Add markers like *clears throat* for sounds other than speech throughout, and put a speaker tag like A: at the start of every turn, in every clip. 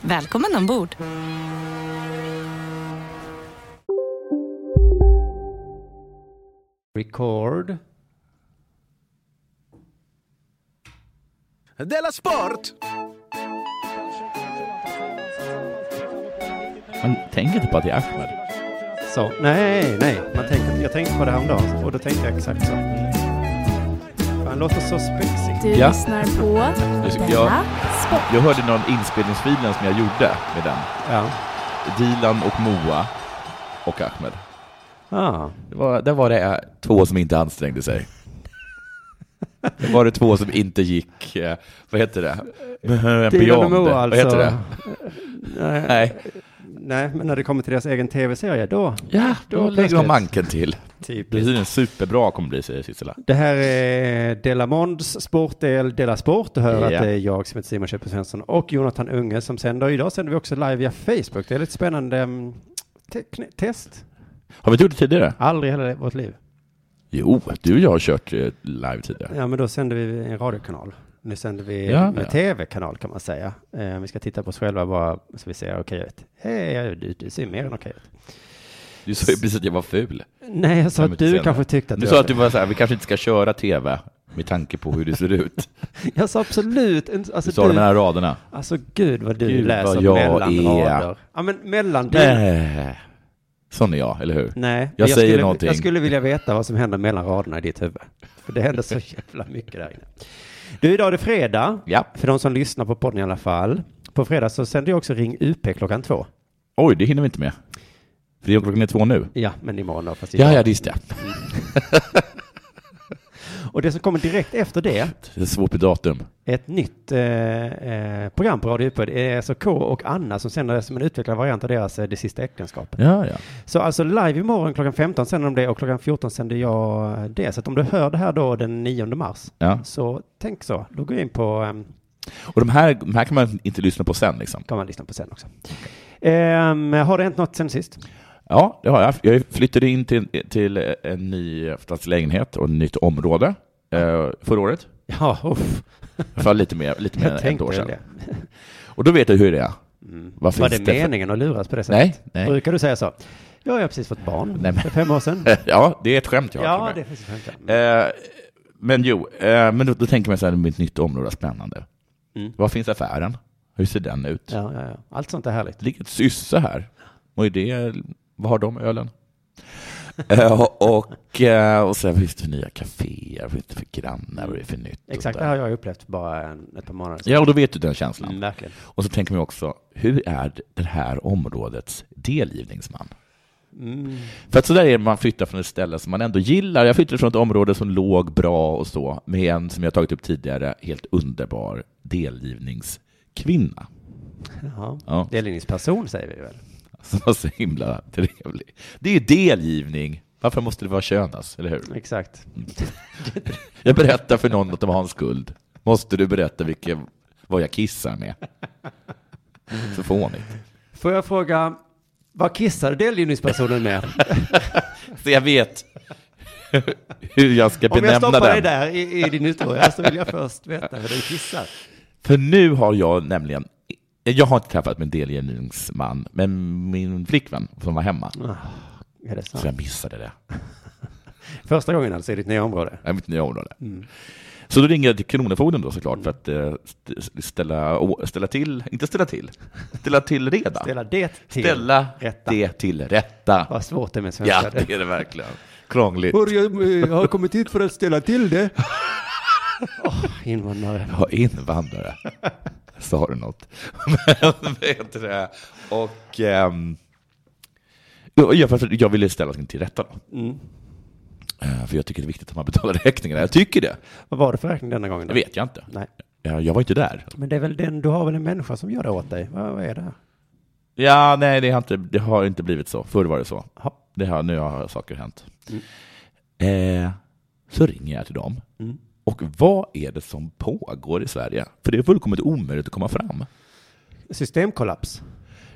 A: Välkommen ombord!
B: Record.
C: Della Sport!
D: Man tänker inte på att det är Ahmed.
B: Så. Nej, nej. Man tänkte, jag tänkte på det häromdagen och då tänkte jag exakt så. Han låter så spexig.
E: Du
D: Ja.
E: lyssnar på
D: Jag,
E: Della
D: jag,
E: Sport.
D: jag hörde någon inspelningsfilen som jag gjorde med den.
B: Ja.
D: Dilan och Moa och Ahmed.
B: Ah.
D: Det var, där var det eh, två som inte ansträngde sig. Det var det två som inte gick, eh, vad heter det?
B: Dilan och
D: Beyond.
B: Moa
D: Vad heter det?
B: Nej,
D: Nej.
B: nej, men när det kommer till deras egen tv-serie, då. typ.
D: Ja,
B: då
D: då lägger
B: plötsligt.
D: de manken till. Det är
B: Typiskt.
D: tydligen superbra kommer det bli, säger Sissela.
B: Det här är Della Monds sportdel, Della Sport. Du hör
D: Ja.
B: att det är jag som heter Simon Köpe Svensson och Jonathan Unge som sänder. Idag sänder vi också live via Facebook. Det är lite spännande mm, te- kn- test.
D: Har vi inte gjort det tidigare?
B: Aldrig i hela vårt liv.
D: Jo, du och jag har kört eh, live tidigare.
B: Ja, men då sände vi en radiokanal. Nu sänder vi
D: Ja,
B: med
D: ja.
B: tv-kanal kan man säga. Eh, vi ska titta på oss själva bara så vi ser okej ut. Hej, ja, du, du ser mer än okej ut.
D: Du sa ju precis att jag var ful.
B: Nej, jag sa
D: Fem
B: att
D: minuter
B: du
D: senare.
B: kanske tyckte att
D: Du
B: du
D: sa att du var så här, vi kanske inte ska köra tv med tanke på hur det
B: *laughs*
D: ser ut.
B: Jag sa absolut inte.
D: Du
B: Alltså,
D: sa det
B: du,
D: mellan raderna.
B: alltså gud vad du
D: Gud,
B: läser
D: vad jag
B: mellan
D: är.
B: rader. Ja, men mellan du.
D: Nej. Sån är jag, eller hur?
B: Nej, men
D: Jag säger
B: skulle,
D: någonting.
B: Jag skulle vilja veta vad som händer mellan raderna i ditt huvud. För det händer så jävla mycket där inne. Du, idag är det fredag.
D: Ja.
B: För de som lyssnar på podden i alla fall. På fredag så sänder jag också Ring UP klockan två.
D: Oj, det hinner vi inte med. För det är klockan är två nu.
B: Ja, men imorgon då. Fast
D: Ja,
B: idag.
D: ja, visst ja.
B: Och det som kommer direkt efter det,
D: Det är svårt med datum.
B: är ett nytt eh, eh, program på Radio UP. Det är alltså K och Anna som sänder det som en utvecklad variant av deras eh, Det sista äktenskapet.
D: Ja, ja.
B: Så alltså live imorgon klockan 15 sänder de det och klockan 14 sänder jag det. Så att om du hör det här då den 9 mars,
D: ja.
B: så tänk så. Då går jag in på ehm,
D: Och de här, de här kan man inte lyssna på sen liksom.
B: kan man lyssna på sen också. Ehm, har det hänt något sen sist?
D: Ja, det har jag. Jag flyttade in till, till en ny lägenhet och ett nytt område eh, förra året.
B: Ja, uff.
D: För lite mer, lite mer
B: Jag
D: än ett
B: tänkte
D: år
B: väl
D: sedan.
B: det. Mm.
D: Och då vet jag hur det är. Vad
B: Var
D: finns
B: det
D: för-
B: meningen att luras på det
D: Nej,
B: sättet?
D: nej.
B: Brukar du säga så? Ja, jag har precis fått barn
D: Nej, men-
B: för fem år sedan.
D: *laughs* Ja, det är ett skämt jag har till
B: ja, det
D: mig.
B: finns skämt. ja.
D: Eh, men jo, eh, men då, då tänker man så här, mitt nytt område är spännande.
B: Mm.
D: Vad finns affären? Hur ser den ut?
B: Ja, ja, ja. Allt sånt är härligt.
D: Det ligger ett sysse här. Vad är det? Vad har de
B: *laughs*
D: ölen? eh, och, eh, och sen finns det nya kaféer, vad finns det för grannar, vad är det för nytt? och
B: Exakt, det
D: sådär.
B: har jag upplevt för bara en, ett par månader sedan.
D: Ja, och då vet du den känslan.
B: Mm, verkligen.
D: Och så tänker man också, hur är det här områdets delgivningsman?
B: Mm.
D: För att så där är det, man flyttar från ett ställe som man ändå gillar. Jag flyttade från ett område som låg bra och så, med en, som jag tagit upp tidigare, helt underbar delgivningskvinna.
B: Jaha.
D: Ja,
B: Delgivningsperson säger vi väl?
D: som var så himla trevlig. Det är ju delgivning. Varför måste det vara
B: *laughs*
D: könas, eller hur?
B: Exakt.
D: Jag berättar för någon att de har en skuld. Måste du berätta vilken, vad jag kissar med? Så fånigt.
B: Får jag fråga, vad kissar delgivningspersonen med?
D: Så jag vet *laughs* hur jag ska
B: Om jag
D: benämna
B: stoppar dig
D: den.
B: där i, i din historia så vill jag först veta hur den kissar.
D: För nu har jag nämligen, jag har inte träffat min delgivningsman, men min flickvän som var hemma.
B: Är det sant?
D: Så jag missade det.
B: Första gången alltså i ditt nya område.
D: Jag är mitt nya område. Så då ringer jag till Kronofogden då såklart för att eh, st- ställa, å- ställa till, inte ställa till, ställa till reda.
B: Ställa det till
D: Ställa
B: rätta.
D: det till rätta.
B: Vad svårt det är med svenska.
D: Ja, det är det verkligen. Krångligt.
B: jag har kommit hit för att ställa till *laughs* det. invandrare.
D: Ja, invandrare. *laughs* Sa du något? Men *laughs* vet du det? Och ehm, jo, jag, fast jag ville ställa saken till rätta då.
B: Mm.
D: Eh, För jag tycker det är viktigt att man betalar räkningarna. Jag tycker det.
B: Vad var det för räkning denna gången?
D: Det
B: Då?
D: vet jag inte.
B: Nej.
D: Eh, Jag var inte där.
B: Men det är väl den, du har väl en människa som gör det åt dig? Vad, vad är det?
D: Ja, nej, det har, inte, det har inte blivit så. Förr var det så.
B: Ja.
D: Det har, nu har saker hänt.
B: Mm.
D: Eh, så ringer jag till dem. Och vad är det som pågår i Sverige? För det är fullkomligt omöjligt att komma fram.
B: Systemkollaps.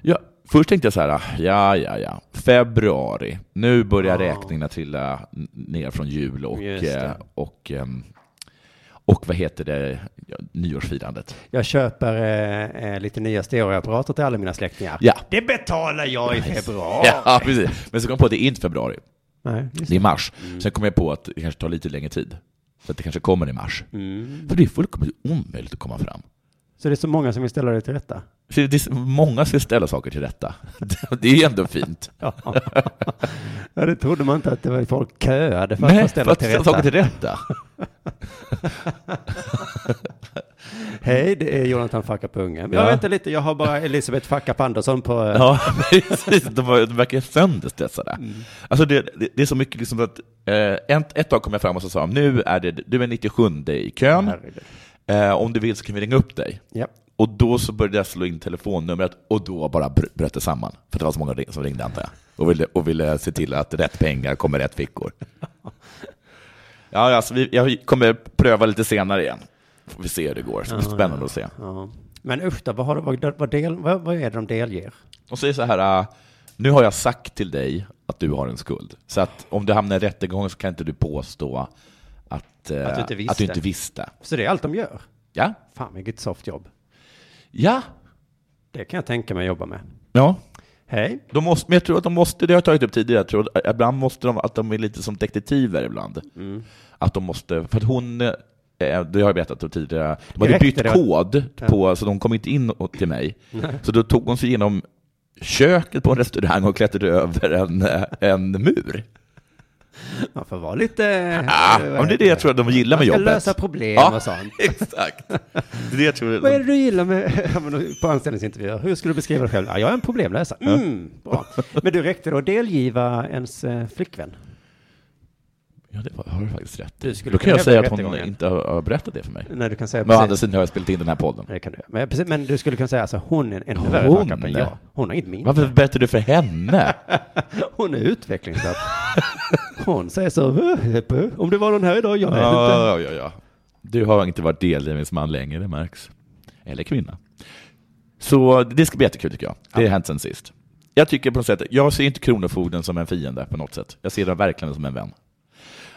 D: Ja, först tänkte jag så här, ja, ja, ja, februari, nu börjar räkningarna trilla n- ner från jul och,
B: Just det.
D: eh, och, ehm, och vad heter det, ja, nyårsfirandet.
B: Jag köper eh, eh, lite nya stereoapparater till alla mina släktingar.
D: Ja.
B: Det betalar jag i februari.
D: *laughs* Ja, precis. Men så kom jag på att det är inte februari,
B: Nej, just
D: det
B: det.
D: är mars.
B: Mm.
D: Sen kom jag på att det kanske tar lite längre tid. Så att det kanske kommer i mars. För det är fullkomligt omöjligt att komma fram.
B: Mm. Så det är så många som vill ställa det till rätta.
D: Så det är, så- många ska ställa saker till rätta. *laughs* Det är ju ändå fint.
B: Ja. *laughs* ja, det trodde man inte att det var folk köade för att
D: Nej,
B: få
D: för
B: ställa
D: att
B: till
D: ställa
B: rätta.
D: saker till rätta.
B: Hej, det är Jonathan Facka på ungen.
D: Ja.
B: Jag väntar lite, jag har bara Elisabeth Facka Andersson på... eh,
D: *laughs* Ja, precis. De, var, de verkar sönderstressade. Alltså det, det, det är så mycket liksom att eh, ett, ett dag kom jag fram och så sa de, nu är det, du är 97 i kön,
B: Herregud.
D: eh, om du vill så kan vi ringa upp dig.
B: Ja.
D: Och då så började jag slå in telefonnumret och då bara br- bröt det samman. För det var så många ring- som ringde antar jag. Och ville, och ville se till att rätt pengar kommer i rätt fickor. Ja, alltså vi, jag kommer pröva lite senare igen. Får vi se hur det går. Så det är spännande att se.
B: ja. Men usch då, vad, har de, vad, vad, del, vad, vad är det de delger?
D: De säger så här, äh, nu har jag sagt till dig att du har en skuld. Så att om du hamnar i rättegång så kan inte du påstå att, eh,
B: Att du inte visste.
D: att du inte visste.
B: Så det är allt de gör?
D: Ja,
B: Fan vilket soft jobb.
D: ja.
B: Det kan jag tänka mig att jobba med.
D: ja.
B: Hej.
D: De måste, men jag tror att de måste, det har jag tagit upp tidigare, jag tror att eh, ibland måste de, att de är lite som detektiver ibland.
B: Mm.
D: Att de måste, för att hon, eh, det har jag berättat om tidigare, de hade
B: Direkt,
D: bytt
B: eller?
D: kod, på, så de kom inte in åt- till mig. Så då tog hon sig igenom köket på en restaurang och klättrade över en, eh, en mur.
B: Man får vara lite...
D: Ja,
B: eh,
D: men Ah, det är det jag tror att de gillar
B: Man
D: med
B: ska
D: jobbet.
B: lösa problem
D: ja,
B: och sånt.
D: *laughs* exakt. Det är det jag tror.
B: Vad är det du gillar med, *laughs* ja, men på anställningsintervjuer? Hur skulle du beskriva dig själv? Ja, jag är en problemlösare. Mm, bra. Men du räckte då att delgiva ens eh, flickvän?
D: Ja, det var- har du faktiskt rätt
B: Du skulle
D: Då kan
B: kunna
D: jag säga att
B: hävda
D: hon
B: rättegången.
D: inte har har berättat det för mig.
B: Nej, du kan säga
D: Men å andra
B: precis.
D: sidan har jag spelat in den här podden.
B: Nej, det kan du. göra. Men, precis, men du skulle kunna säga alltså hon är en ännu värre
D: Hon?
B: fuck-up än jag. Hon har inget minne.
D: Varför berättar du för henne?
B: Hon är
D: *laughs*
B: utvecklingsstörd. Hon säger så, "Eh, eh, om det var någon här idag, jag vet inte.
D: ja, ja, ja. Du har inte varit delgivningsman längre, det märks. Eller kvinna. Så det ska bli jättekul tycker jag. Det har hänt sen sist. Jag tycker på något sätt, jag ser inte Kronofogden som en fiende på något sätt. Jag ser den verkligen som en vän.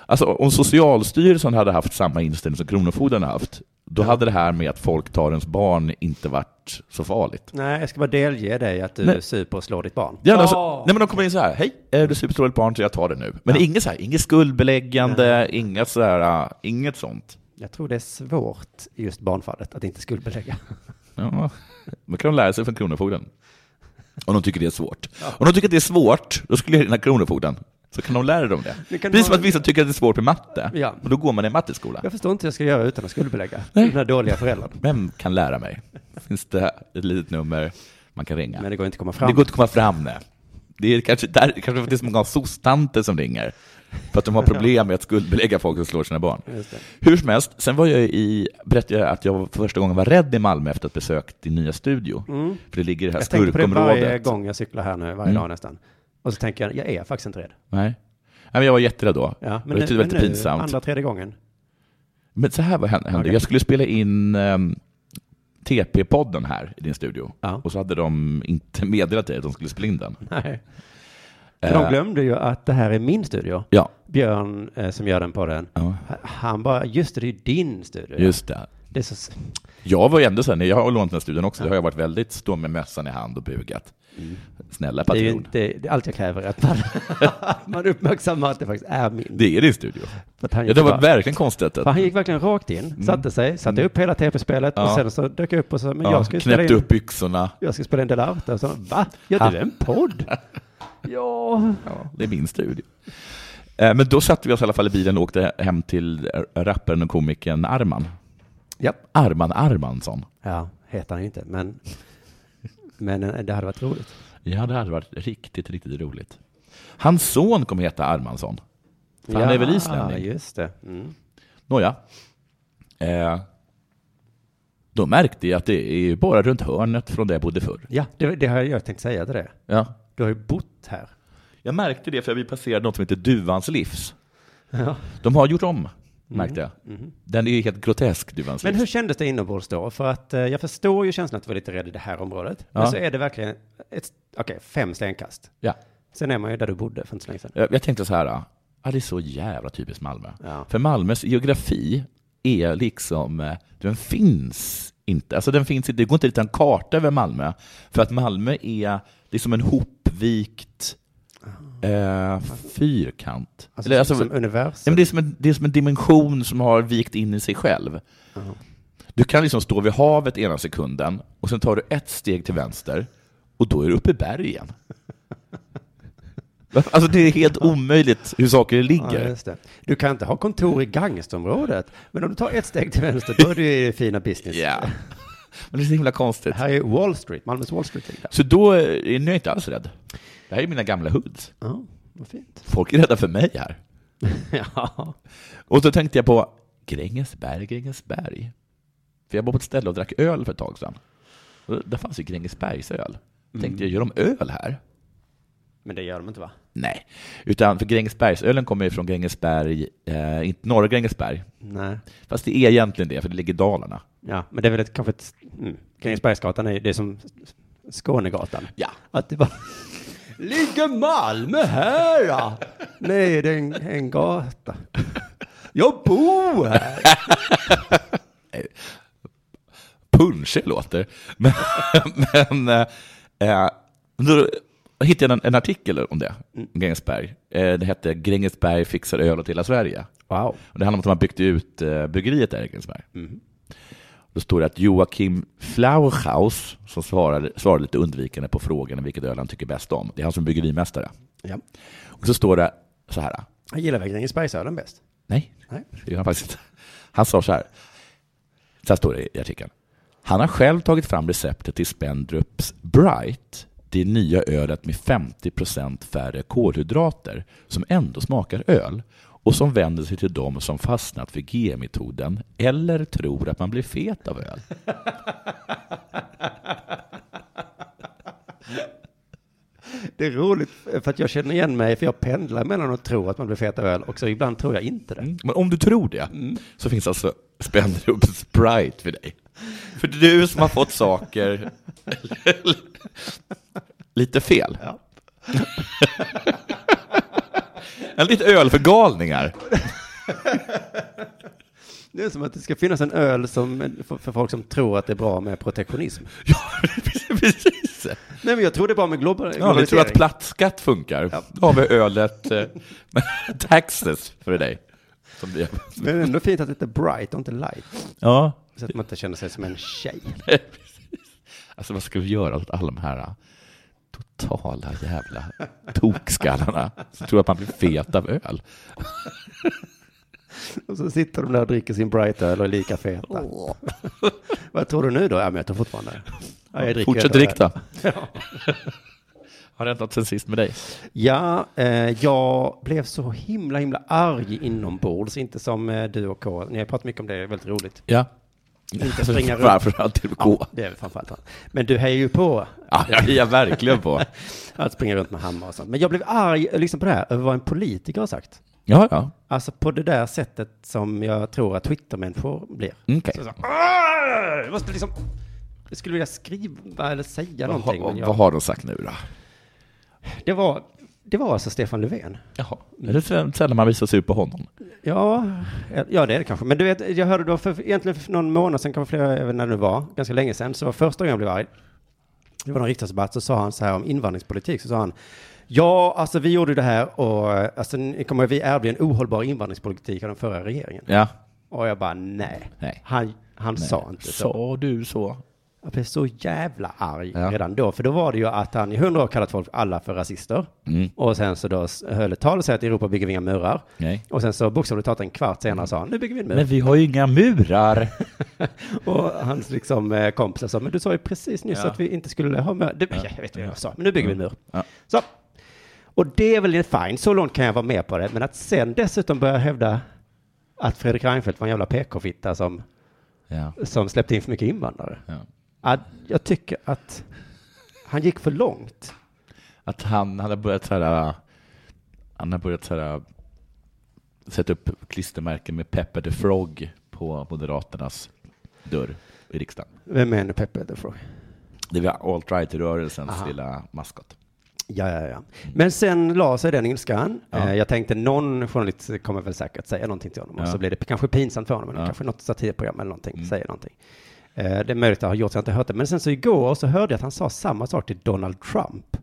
D: Alltså om Socialstyrelsen hade haft samma inställning som Kronofogden har haft, då hade det här med att folk tar ens barn inte varit så farligt.
B: Nej, jag ska bara delge dig att du
D: Nej.
B: super och slår ditt barn.
D: Ja, alltså, nej, men de kommer in så här, hej, är du superstor barn så jag tar det nu. Men det är inget, så här, inget skuldbeläggande, inget, så här, äh, inget sånt.
B: Jag tror det är svårt i just barnfallet att inte
D: *laughs*
B: skuldbelägga.
D: Ja, då kan de lära sig från Kronofogden. Om de tycker det är svårt. Om de tycker att det är svårt, då skulle jag ringa Kronofogden. Så kan de lära dem det.
B: Det kan
D: Precis som
B: vara-
D: att vissa tycker att det är svårt med matte,
B: Ja.
D: och då går man i en matteskola.
B: Jag förstår inte hur jag ska göra utan att skuldbelägga den här dåliga föräldern.
D: Vem kan lära mig? Finns det ett litet nummer man kan ringa?
B: Men det går inte att komma
D: Det
B: fram.
D: går inte att komma fram med. Det är kanske, där, kanske för att det är så många sostanter som ringer. För att de har problem med att skuldbelägga folk som slår sina barn. Hur som helst, sen var jag i, berättade jag att jag för första gången var rädd i Malmö efter ett besök till nya studio. För det ligger i det Mm. här
B: Mm. Jag tänker på det varje
D: skurkområdet.
B: gång jag cyklar här nu, varje dag nästan. Och så tänker jag, jag är faktiskt inte rädd.
D: Nej. Nej, men jag var jätterädd då.
B: Ja,
D: men det tyckte det var lite pinsamt.
B: andra, tredje gången.
D: Men så här var hände. hände.
B: Okej.
D: Jag skulle spela in ehm, TP-podden här i din studio.
B: Ja.
D: Och så hade de inte meddelat dig att de skulle spela in den.
B: Nej. För de
D: Eh.
B: glömde ju att det här är min studio.
D: Ja,
B: Björn eh, som gör den på den.
D: Ja.
B: Han bara, just det, det är ju din studio.
D: just det.
B: Det är så...
D: Jag var ju ändå sen, jag har lånat den här studien också, det har jag varit väldigt stå med mössan i hand och bugat. Snälla
B: Mm. Det är ju
D: patron.
B: inte det är allt jag kräver, att man,
D: *laughs*
B: man uppmärksammar att det faktiskt är min.
D: Det är det i studio.
B: För att han
D: Ja,
B: gick
D: det
B: bara-
D: var verkligen konstigt.
B: För
D: Att,
B: han gick verkligen rakt in, satte sig, satte upp hela tv-spelet och
D: Ja.
B: sen så dök jag upp och sa, men
D: ja,
B: jag ska ju spela
D: knäppte
B: in,
D: upp byxorna.
B: jag ska spela in Delarte. Och så, va? Gör du en
D: *laughs*
B: podd? ja.
D: Ja, det är min studio. Eh, Men då satte vi oss i alla fall i bilen och åkte hem till r- rapparen och komikern Arman.
B: Japp.
D: Arman Armansson.
B: Ja, heter han ju inte, men, men eh, det hade varit roligt.
D: Ja, det hade varit riktigt, riktigt roligt. Hans son kommer heta Armansson. För
B: ja,
D: han är väl islänning?
B: just det. Mm.
D: Nåja. Eh, då märkte jag att det är ju bara runt hörnet från där jag bodde förr.
B: Ja, det, det har jag tänkt säga till det.
D: Ja.
B: Du har ju bott här.
D: Jag märkte det för vi passerade något som heter Duvans livs.
B: Ja. Mm,
D: De har gjort om, märkte jag. Den är ju helt grotesk, Duvans
B: Men
D: livs.
B: hur kändes det inombords då? För att eh, jag förstår ju känslan att du var lite rädd i det här området. Men
D: Ja.
B: så är det verkligen, ett, okej, fem slängkast.
D: Ja.
B: Sen är man ju där du bodde för inte så länge sedan.
D: Jag, jag tänkte så här, ah, det är så jävla typiskt Malmö.
B: Ja.
D: För Malmös geografi är liksom, eh, den finns inte. Alltså den finns inte, det går inte att rita en karta över Malmö. För att Malmö är liksom en hopvikt eh, fyrkant.
B: Alltså,
D: Eller, alltså,
B: som
D: Nej,
B: universum.
D: men det, är som en, det är som en dimension som har vikt in i sig själv. Du kan liksom stå vid havet ena sekunden och sen tar du ett steg till vänster och då är du uppe
B: *laughs*
D: i bergen. Alltså det är helt omöjligt hur saker
B: Ja,
D: ligger.
B: just det. Du kan inte ha kontor i gangstområdet. Men om du tar ett steg till vänster, då är du i det fina business.
D: *laughs* Ja. Men det är så himla konstigt.
B: Här är Wall Street, Malmös Wall Street. ligger där.
D: Så då är nu är jag inte alls rädd. Det här är mina gamla hoods.
B: Ja, vad fint.
D: Folk är rädda för mig här.
B: *laughs* Ja.
D: Och så tänkte jag på Grängesberg, Grängesberg. För jag var på ett ställe och drack öl för ett tag sedan. Och där fanns ju Grängesbergsöl. Då Tänkte jag, gör de öl här?
B: Men det gör de inte va?
D: Nej, utan för Grängesbergsölen kommer ju från Grängesberg, eh, inte norra Grängesberg.
B: Nej.
D: Fast det är egentligen det, för det ligger i Dalarna.
B: Ja, men det är väl ett, kanske ett... Mm. Grängesbergsgatan är ju- det är som Skånegatan.
D: Ja.
B: Att det bara... Ligger Malmö här? Ja. Nej, det är en, en gata. Jag bor här.
D: Punschig låter. Men, *laughs* men eh, eh, då hittade jag en, en artikel om det, om Grängesberg. Eh, det hette Grängesberg fixar öl åt hela Sverige.
B: Wow.
D: Och det handlar om att de har byggt ut eh, bryggeriet där i Grängesberg. Då står det att Joakim Flauchaus, som svarade, svarade lite undvikande på frågan om vilket öl han tycker bäst om, det är han som är bryggerimästare.
B: Ja.
D: Och så står det så här,
B: Jag gillar väl Grängesbergsölen bäst.
D: nej,
B: Nej.
D: det gör han faktiskt inte. Han sa så här, så här står det i artikeln. Han har själv tagit fram receptet till Spendrups Bright, det nya ölet med 50% färre kolhydrater som ändå smakar öl och som vänder sig till de som fastnat för G-metoden eller tror att man blir fet av öl.
B: Det är roligt för att jag känner igen mig, för jag pendlar mellan att tro att man blir fet av öl och så ibland tror jag inte det.
D: Mm. Men om du tror det så finns alltså Spendrups Sprite för dig. För du som har fått *laughs* saker lite fel. *laughs* en lite öl för galningar.
B: Det är som att det ska finnas en öl som, för, för folk som tror att det är bra med protektionism.
D: Ja, *laughs* precis.
B: Nej, men jag tror det är bra med global,
D: Ja,
B: globalisering.
D: du tror att platt skatt funkar. Då har vi ölet eh, *laughs* Taxes för dig. Som vi-
B: Men det är ändå fint att det är bright och inte light.
D: Ja,
B: Så att man inte känner sig som en tjej.
D: Alltså vad ska vi göra åt alla de här ah, totala jävla tokskallarna som tror att man blir fet av öl?
B: *laughs* Och så sitter de där och dricker sin bright öl och är lika feta. *laughs* Vad tror du nu då? Ja, men jag tror fortfarande. *laughs* Ja, jag dricker
D: Fortsätt
B: öl.
D: drick då. *laughs* Har det hänt något sen sist med dig?
B: Ja, eh, jag blev så himla, himla arg inombords. Inte som eh, du och K. Ni har pratat mycket om det, det är väldigt roligt.
D: Ja.
B: Inte springa runt.
D: Framförallt till K.
B: Det är väl framförallt han. Men du hejar ju på
D: Ja, jag är verkligen på.
B: att springa runt med hammare och sånt. Men jag blev arg, liksom på det här, över vad en politiker har sagt.
D: Ja, ja.
B: Alltså på det där sättet som jag tror att Twittermänniskor blir.
D: Mm, Okej.
B: Så, så, "Arr!" jag måste liksom... Jag skulle vilja skriva eller säga
D: Vad,
B: någonting.
D: har-
B: men jag,
D: vad har de sagt nu då?
B: Det var Det var alltså Stefan Löfven.
D: Jaha. Är det sällan sällan man visar sig upp på honom?
B: Ja, eh, ja det är det kanske. Men du vet, jag hörde då för, egentligen för någon månad sedan, kanske flera, även när det nu var, ganska länge sedan, så var första gången jag blev arg, det var någon riksdagsdebatt, så sa han så här om invandringspolitik, så sa han, ja, alltså vi gjorde det här och eh, alltså, ni kommer ihåg, vi ärvde en ohållbar invandringspolitik av den förra regeringen.
D: Ja.
B: Och jag bara, nej.
D: Nej.
B: Han, han sa inte så.
D: Sa du så?
B: Jag blev så jävla arg
D: Ja.
B: redan då, för då var det ju att han i hundra år kallat folk alla för rasister.
D: Mm.
B: Och sen så då s- höll ett tal och sa att i Europa bygger vi inga murar.
D: Nej.
B: Och sen så bokstavligt talat en kvart senare sa han, nu bygger vi en mur.
D: Men vi har ju inga murar.
B: Och hans liksom, eh, kompisar sa, men du sa ju precis nyss att vi inte skulle ha mur. Det, Jag vet inte vad jag sa, men nu bygger vi en mur.
D: Ja.
B: Så. Och det är väl fine, så långt kan jag vara med på det. Men att sen dessutom börja hävda att Fredrik Reinfeldt var en jävla PK-fitta som,
D: Ja.
B: som släppte in för mycket invandrare.
D: Ja.
B: Att jag tycker att han gick för långt.
D: Att han, han har börjat så här... äh, Han har börjat så här... äh, Sätta upp klistermärken med Pepper the Frog på Moderaternas dörr i riksdagen.
B: Vem är nu Peppe the Frog?
D: Det var alt-right-rörelsens lilla maskot.
B: Ja, ja, ja. Men sen la sig den ilskan. Eh, Jag tänkte någon journalist kommer väl säkert säga någonting till honom. Och
D: Ja.
B: så blir det kanske pinsamt för honom. Eller
D: Ja. Mm.
B: Kanske något satirprogram eller någonting. Säger någonting. Eh, Det är möjligt att det har gjort så jag har inte hört det. Men sen så igår så hörde jag att han sa samma sak till Donald Trump.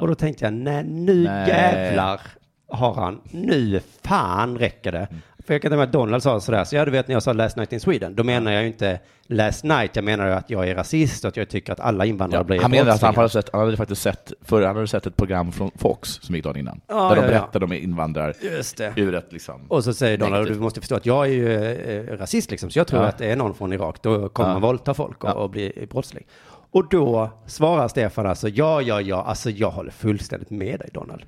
B: Och då tänkte jag, nej nu
D: Nej.
B: jävlar har han, nu fan räcker det.
D: Mm.
B: För jag kan tänka mig att Donald sa sådär, så ja du vet när jag sa last night in Sweden, då menar jag ju inte last night, jag menar ju att jag är rasist och att jag tycker att alla invandrare blir
D: han menar att han
B: brottslingar.
D: hade, sett, han hade faktiskt sett, för han hade sett ett program från Fox som gick dagen innan.
B: Ja,
D: där
B: ja, ja.
D: de berättade om invandrar
B: Just det.
D: ur ett liksom...
B: Och så säger Donald,
D: Negativt.
B: du måste förstå att jag är ju eh, rasist liksom, så jag tror
D: Ja.
B: att det är någon från Irak, då kommer
D: Ja.
B: man våldta folk och, och bli brottsling. Och då svarar Stefan alltså, ja, ja, ja, alltså jag håller fullständigt med dig Donald.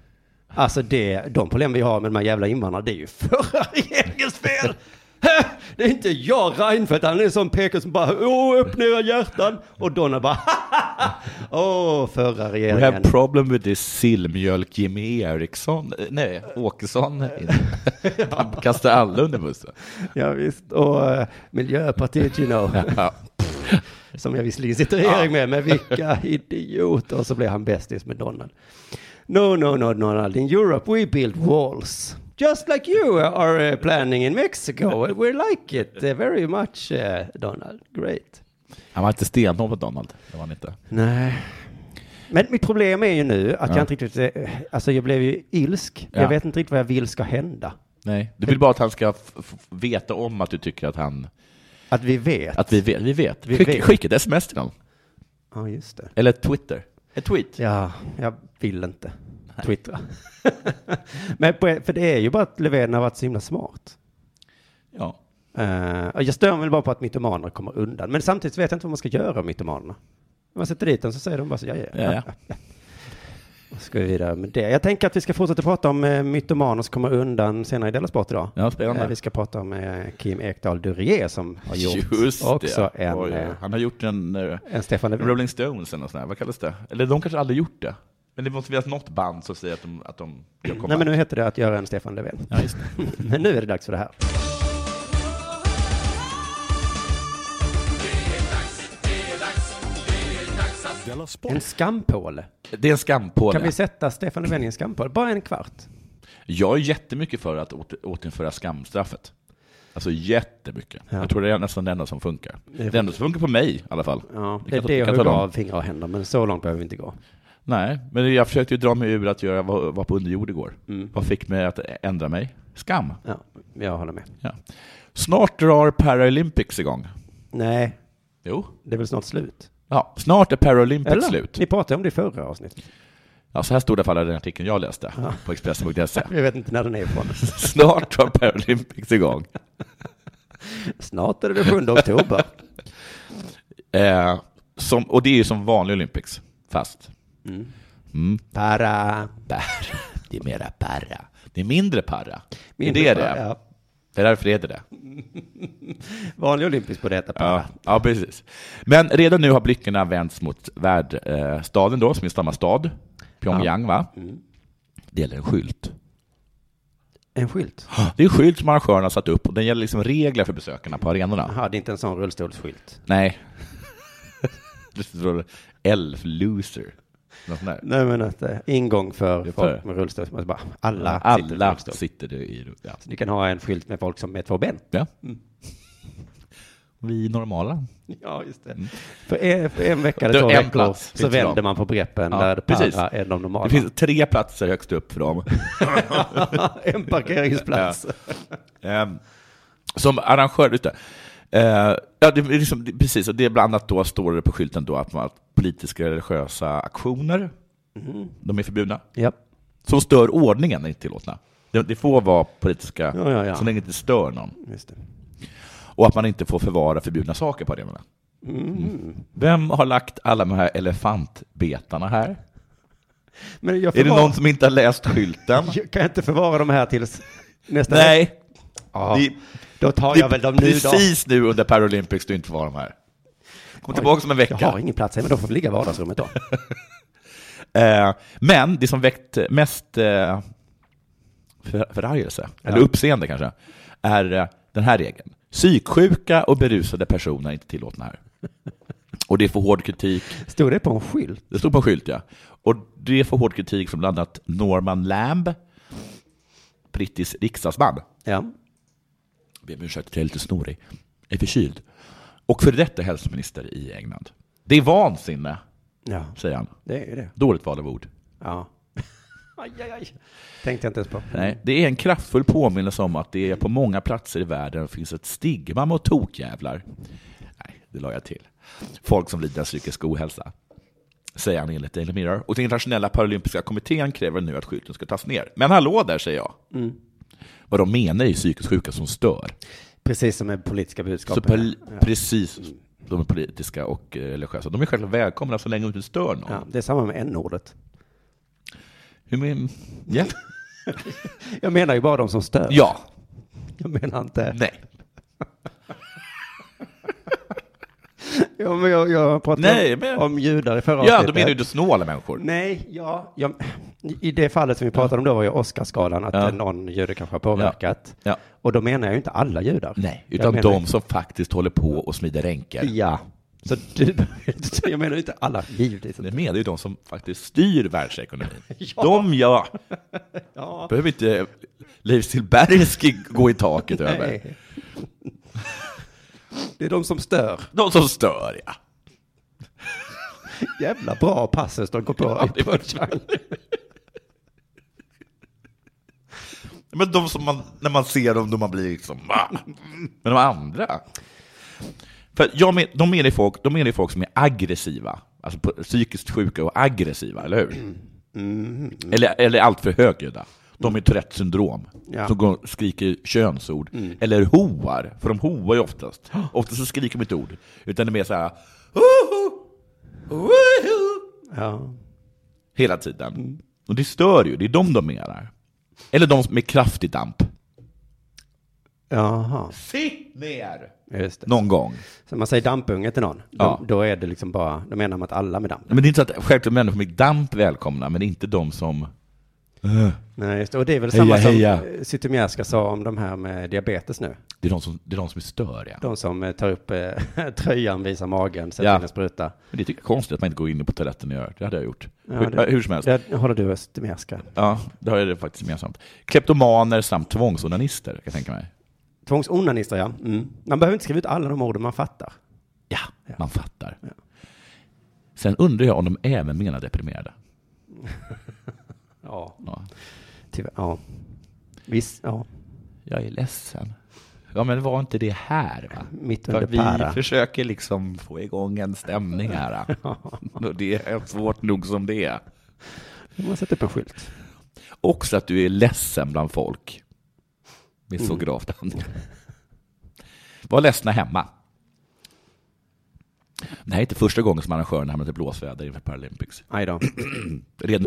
B: Alltså det, de problem vi har med de här jävla invandrarna, det är ju *laughs* förra regeringens fel! Hä? Det är inte jag Reinfeldt, han är en sån PK som bara, åh, öppna era hjärtan! Och Donald bara, *laughs* åh, förra
D: We have
B: regeringen.
D: problem with this sillmjölk Jimmy Eriksson, eh, nej, Åkesson.
B: *laughs*
D: Han kastar alla under bussen.
B: Ja, visst. och eh, Miljöpartiet, you know.
D: Ja.
B: Som jag visserligen sitter i regering med, men
D: *laughs*
B: vilka idioter. Och så blev han bästis med Donald. No, no, no, Donald. In Europe we build walls. Just like you are uh, planning in Mexico. We like it uh, very much, uh, Donald. Great.
D: Han var inte stenhård på Donald, det var han inte.
B: Nej. Men mitt problem är ju nu att
D: Ja.
B: jag inte riktigt, eh, alltså jag blev ju ilsk.
D: Ja.
B: Jag vet inte riktigt vad jag vill ska hända.
D: Nej, du vill bara att han ska f- f- veta om att du tycker att han,
B: Att vi vet.
D: att vi vet, vi vet.
B: Vi
D: Skicka,
B: vet.
D: skicka ett sms till honom,
B: Ja, just det.
D: eller ett Twitter, ett tweet.
B: Ja, jag vill inte twittra. *laughs* Men på, för det är ju bara att Löfven har varit så himla smart.
D: Ja.
B: Eh, och jag stör mig bara på att mytomaner kommer undan. Men samtidigt vet jag inte vad man ska göra med mytomanerna. När man sätter dit dem så säger de bara så, ja, ja.
D: Ja, ja.
B: Och så ska vi vidare med det. Jag tänker att vi ska fortsätta prata om eh, mytomaner som kommer undan senare i Della Sport idag.
D: Ja, spännande.
B: Eh, vi ska prata om eh, Kim Ekdahl Duryé som har gjort
D: Just
B: också
D: det.
B: en,
D: Oj,
B: eh,
D: han har gjort en, eh,
B: en Stefan Löfven.
D: Rolling Stones eller något sånt där. vad kallas det? Eller de kanske aldrig gjort det. Men det måste finnas något band som säger att de, att de jag kommer.
B: Nej, men nu heter det att göra en Stefan Löfven.
D: Ja, just det.
B: *laughs* Men nu är det dags för det här. En skampåle.
D: det är en skampåle.
B: Kan vi sätta Stefan Löfven i en skampåle? Bara en kvart.
D: Jag är jättemycket för att åter, återinföra skamstraffet. Alltså jättemycket. Jag tror det är nästan det enda som funkar. Det, enda som funkar på mig i alla fall.
B: Ja,
D: Det
B: det är
D: kan-
B: det
D: det
B: jag
D: kan
B: hugger
D: ta dem.
B: av fingrar och händer, men så långt behöver vi inte gå.
D: Nej, men jag försökte ju dra mig ur att jag var, var på underjord igår. Vad fick mig att ändra mig? Skam.
B: Ja, jag håller med.
D: Ja. Snart drar Paralympics igång.
B: Nej,
D: Jo.
B: det är väl snart slut?
D: Ja, snart är Paralympics
B: Eller?
D: slut.
B: Ni pratade om det i förra avsnittet.
D: Ja, så här stod det i alla fall i den artikeln jag läste på Expressen.se.
B: Jag vet inte när den är ifrån.
D: Snart drar Paralympics igång.
B: Snart är det den 7
D: *laughs*
B: oktober.
D: Eh, som, och det är ju som vanlig Olympics, fast.
B: Para.
D: Para. Det är mera para. Det är mindre para.
B: Mindre
D: det är det
B: para,
D: det.
B: ja.
D: Det är därför det heter det.
B: Vanlig olympisk på detta para.
D: Ja, ja, precis. Men redan nu har blickarna vänts mot värdstaden då, som är samma stad. Pyongyang, va?
B: Mm.
D: Det gäller en skylt.
B: En skylt.
D: Det är en skylt som arrangörerna har satt upp och den gäller liksom regler för besökarna på arenorna.
B: Jaha, det är inte en
D: *laughs*
B: sån rullstolsskylt.
D: Nej. Det står L för loser. Något sånt där.
B: Nej, men att eh, ingång för
D: Det
B: folk
D: för-
B: med rullstol. Så man bara, alla, sitter med
D: Alla
B: rullstol.
D: sitter det i rum. Ja.
B: Så ni kan ha en skylt med folk som är två ben. *laughs*
D: ja. Vi normala.
B: Ja, just det. För en, för en vecka eller
D: Det
B: två
D: är Mm. en
B: veckor
D: plats,
B: så
D: finns det
B: vänder
D: dem.
B: man på greppen
D: Ja,
B: där det
D: precis.
B: andra är de normala.
D: Det finns tre platser högst upp för dem.
B: *laughs* en parkeringsplats.
D: Ehm, som arrangör, just det. Eh, ja, det är liksom, det, precis, och det är bland annat då står det på skylten då att, man, att politiska religiösa aktioner,
B: Mm.
D: de är förbjudna.
B: Ja.
D: Som stör ordningen är inte tillåtna. Det, det får vara politiska,
B: Ja, ja, ja.
D: så länge det inte stör någon.
B: Just det.
D: Och att man inte får förvara förbjudna saker på arenorna. Mm. Vem har lagt alla de här elefantbetarna här?
B: Men jag
D: Är det
B: förvar-
D: någon som inte har
B: *laughs*
D: läst skylten?
B: Jag kan inte förvara de här tills nästa vecka?
D: Nej,
B: Ja.
D: det-
B: Då tar
D: det
B: jag väl
D: är
B: dem nu då.
D: precis nu under Paralympics du inte får vara de här. Kom tillbaka om en vecka.
B: Jag har ingen plats här, men då får vi ligga i vardagsrummet
D: *laughs*
B: då.
D: Eh, men det som väckt mest eh, för, förargelse, eller uppseende kanske, är eh, den här regeln. Psyksjuka och berusade personer är inte tillåtna här. Och det får hård kritik.
B: Stod det på en skylt?
D: Det stod på en skylt, ja. Och det får hård kritik från bland annat Norman Lamb, brittisk riksdagsman.
B: Ja.
D: Be om ursäkt, jag är lite snorig. Jag är förkyld. Och för detta hälsominister i England. Det är vansinne,
B: Ja,
D: säger han.
B: det är ju det.
D: Dåligt val av ord.
B: Ja. *laughs* aj, aj, aj. Tänkte jag inte ens på.
D: Nej, det är en kraftfull påminnelse om att det är på många platser i världen finns ett stigma mot tokjävlar. Nej, det la jag till. Folk som lider av psykisk ohälsa, säger han enligt Daily Mirror. Och den internationella paralympiska kommittén kräver nu att skylten ska tas ner. Men hallå där, säger jag. Vad de menar är ju psykiskt sjuka som stör.
B: Precis som med politiska
D: Så
B: budskap.
D: pol- precis, de är politiska och eh, religiösa. De är själva välkomna så länge de inte stör någon.
B: Ja, det är samma med n-ordet.
D: Hur men, ja.
B: Jag menar ju bara de som stör.
D: *laughs* ja,
B: Jag menar inte...
D: nej.
B: Ja, men jag, jag pratade
D: Nej,
B: om-
D: men-
B: om judar i förra
D: Ja,
B: avsnittet.
D: de är ju snåla människor.
B: Nej, ja, jag, i det fallet som vi pratade om då var ju Oscarsgalan, att
D: Ja.
B: någon jude kanske har påverkat.
D: Ja.
B: Och då menar jag ju inte alla judar.
D: Nej,
B: Jag
D: utan
B: menar-
D: de som faktiskt håller på och smider ränker.
B: Ja. Så du, jag menar ju inte alla, givetvis.
D: Det
B: inte.
D: menar ju de som faktiskt styr världsekonomin.
B: *laughs* Ja.
D: De ja!
B: Ja.
D: Behöver inte Leif Silbersky gå i taket över.
B: Nej. Det är de som stör.
D: De som stör, ja.
B: Jävla bra passus de går på i punchline.
D: Men de som man, när man ser dem, då man blir liksom va? Men de andra? För jag men, de menar ju folk, de menar ju folk som är aggressiva. Alltså på- psykiskt sjuka och aggressiva, eller hur? Eller, eller alltför högljudda. De är Tourettes syndrom,
B: Ja.
D: som går, skriker könsord. Eller hoar, för de hoar ju oftast. Oftast så skriker de inte ord, utan det är mer så här... "Hoho! Woho!"
B: Ja.
D: hela tiden. Och det stör ju, det är de de menar. Eller de som är kraftig damp.
B: Jaha,
D: Sitt ner!
B: just det.
D: Någon gång.
B: Så man säger dampunge till någon,
D: Ja.
B: då, då är det liksom bara, då menar man att alla med damp.
D: Men det är inte så att självklart människor med damp välkomna, men inte de som...
B: Nej, just det. Och det är väl
D: Heja,
B: samma som
D: heja.
B: eh, Zytomierska sa om de här med diabetes nu.
D: Det är de som, det är, de som är störiga.
B: De som eh, tar upp eh, *laughs* tröjan, visar magen, sätter
D: Ja.
B: in en spruta.
D: Men det tycker jag är typ konstigt att man inte går in på toaletten och gör. Det hade jag gjort.
B: Ja,
D: hur,
B: det-
D: hur som helst.
B: Det håller du och Zytomierska.
D: Ja, det har jag det faktiskt gemensamt. Kleptomaner samt tvångsonanister, kan jag tänka mig.
B: Tvångsonanister, ja. Mm. Man behöver inte skriva ut alla de orden man fattar.
D: Ja, man fattar. Sen undrar jag om de även menar deprimerade.
B: Ja,
D: Ja.
B: tyvärr. Ja. Visst, ja.
D: Jag är ledsen. Ja, men var inte det här, va?
B: Mitt
D: För
B: under
D: vi
B: para.
D: försöker liksom få igång en stämning
B: *laughs*
D: här. Och det är svårt nog som det är.
B: Man sätter upp en skylt.
D: Också att du är ledsen bland folk. Det är
B: Mm.
D: så gravt. Var ledsna hemma. Det här är inte första gången som arrangören hamnat i blåsväder inför Paralympics.
B: Aj då.
D: Redan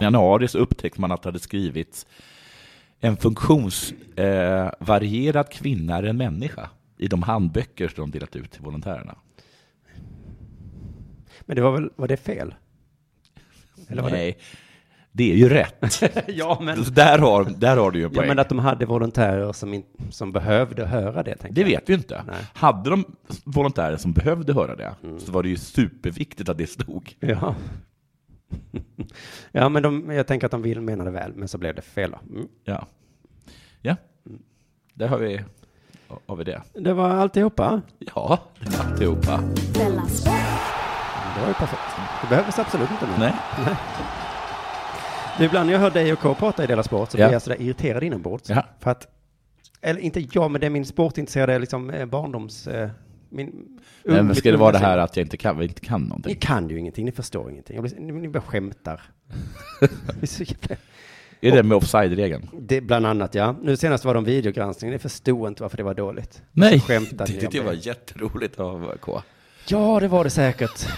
D: I januari så upptäckte man att det hade skrivits en funktionsvarierad eh, varierad kvinna är en människa i de handböcker som de delat ut till volontärerna.
B: Men det var väl, var det fel? Eller var det-
D: Nej, det är ju rätt. *laughs*
B: ja, *laughs* men...
D: Så där, har, där har du ju en
B: Ja,
D: poäng.
B: men att de hade volontärer som, in, som behövde höra det, tänkte
D: Det vet vi ju inte.
B: Nej.
D: Hade de volontärer som behövde höra det så var det ju superviktigt att det stod.
B: jag. Ja. *laughs* ja, men de, jag tänker att de vill menade väl, men så blev det fel. Då. Mm.
D: Ja, ja. där har vi, har vi det.
B: Det var alltihopa.
D: Ja, det var alltihopa.
B: Det var ju perfekt. Det behövdes absolut inte mer.
D: Nej.
B: Du, Ibland när jag hör dig och K prata i Dela Sport så
D: Ja.
B: blir jag sådär irriterad inombords.
D: Ja.
B: För att, eller inte jag, men det är min sportintresserade liksom, eh, barndoms... eh, Min,
D: Nej, men
B: mitt
D: ska det vara det här
B: ungdomsliv.
D: att jag inte kan, vi inte kan
B: Ni
D: någonting?
B: kan ju ingenting, ni förstår ingenting. Jag blir, ni, ni bara
D: *laughs*
B: skämtar. Det är så jävla-
D: Är det med offside-regeln?
B: Det, bland annat ja. Nu senast var det om videogranskning. Ni förstod inte varför det var dåligt.
D: Nej,
B: Skämtar ni
D: det,
B: om
D: det
B: det?
D: var jätteroligt av K.
B: Ja, det var det säkert.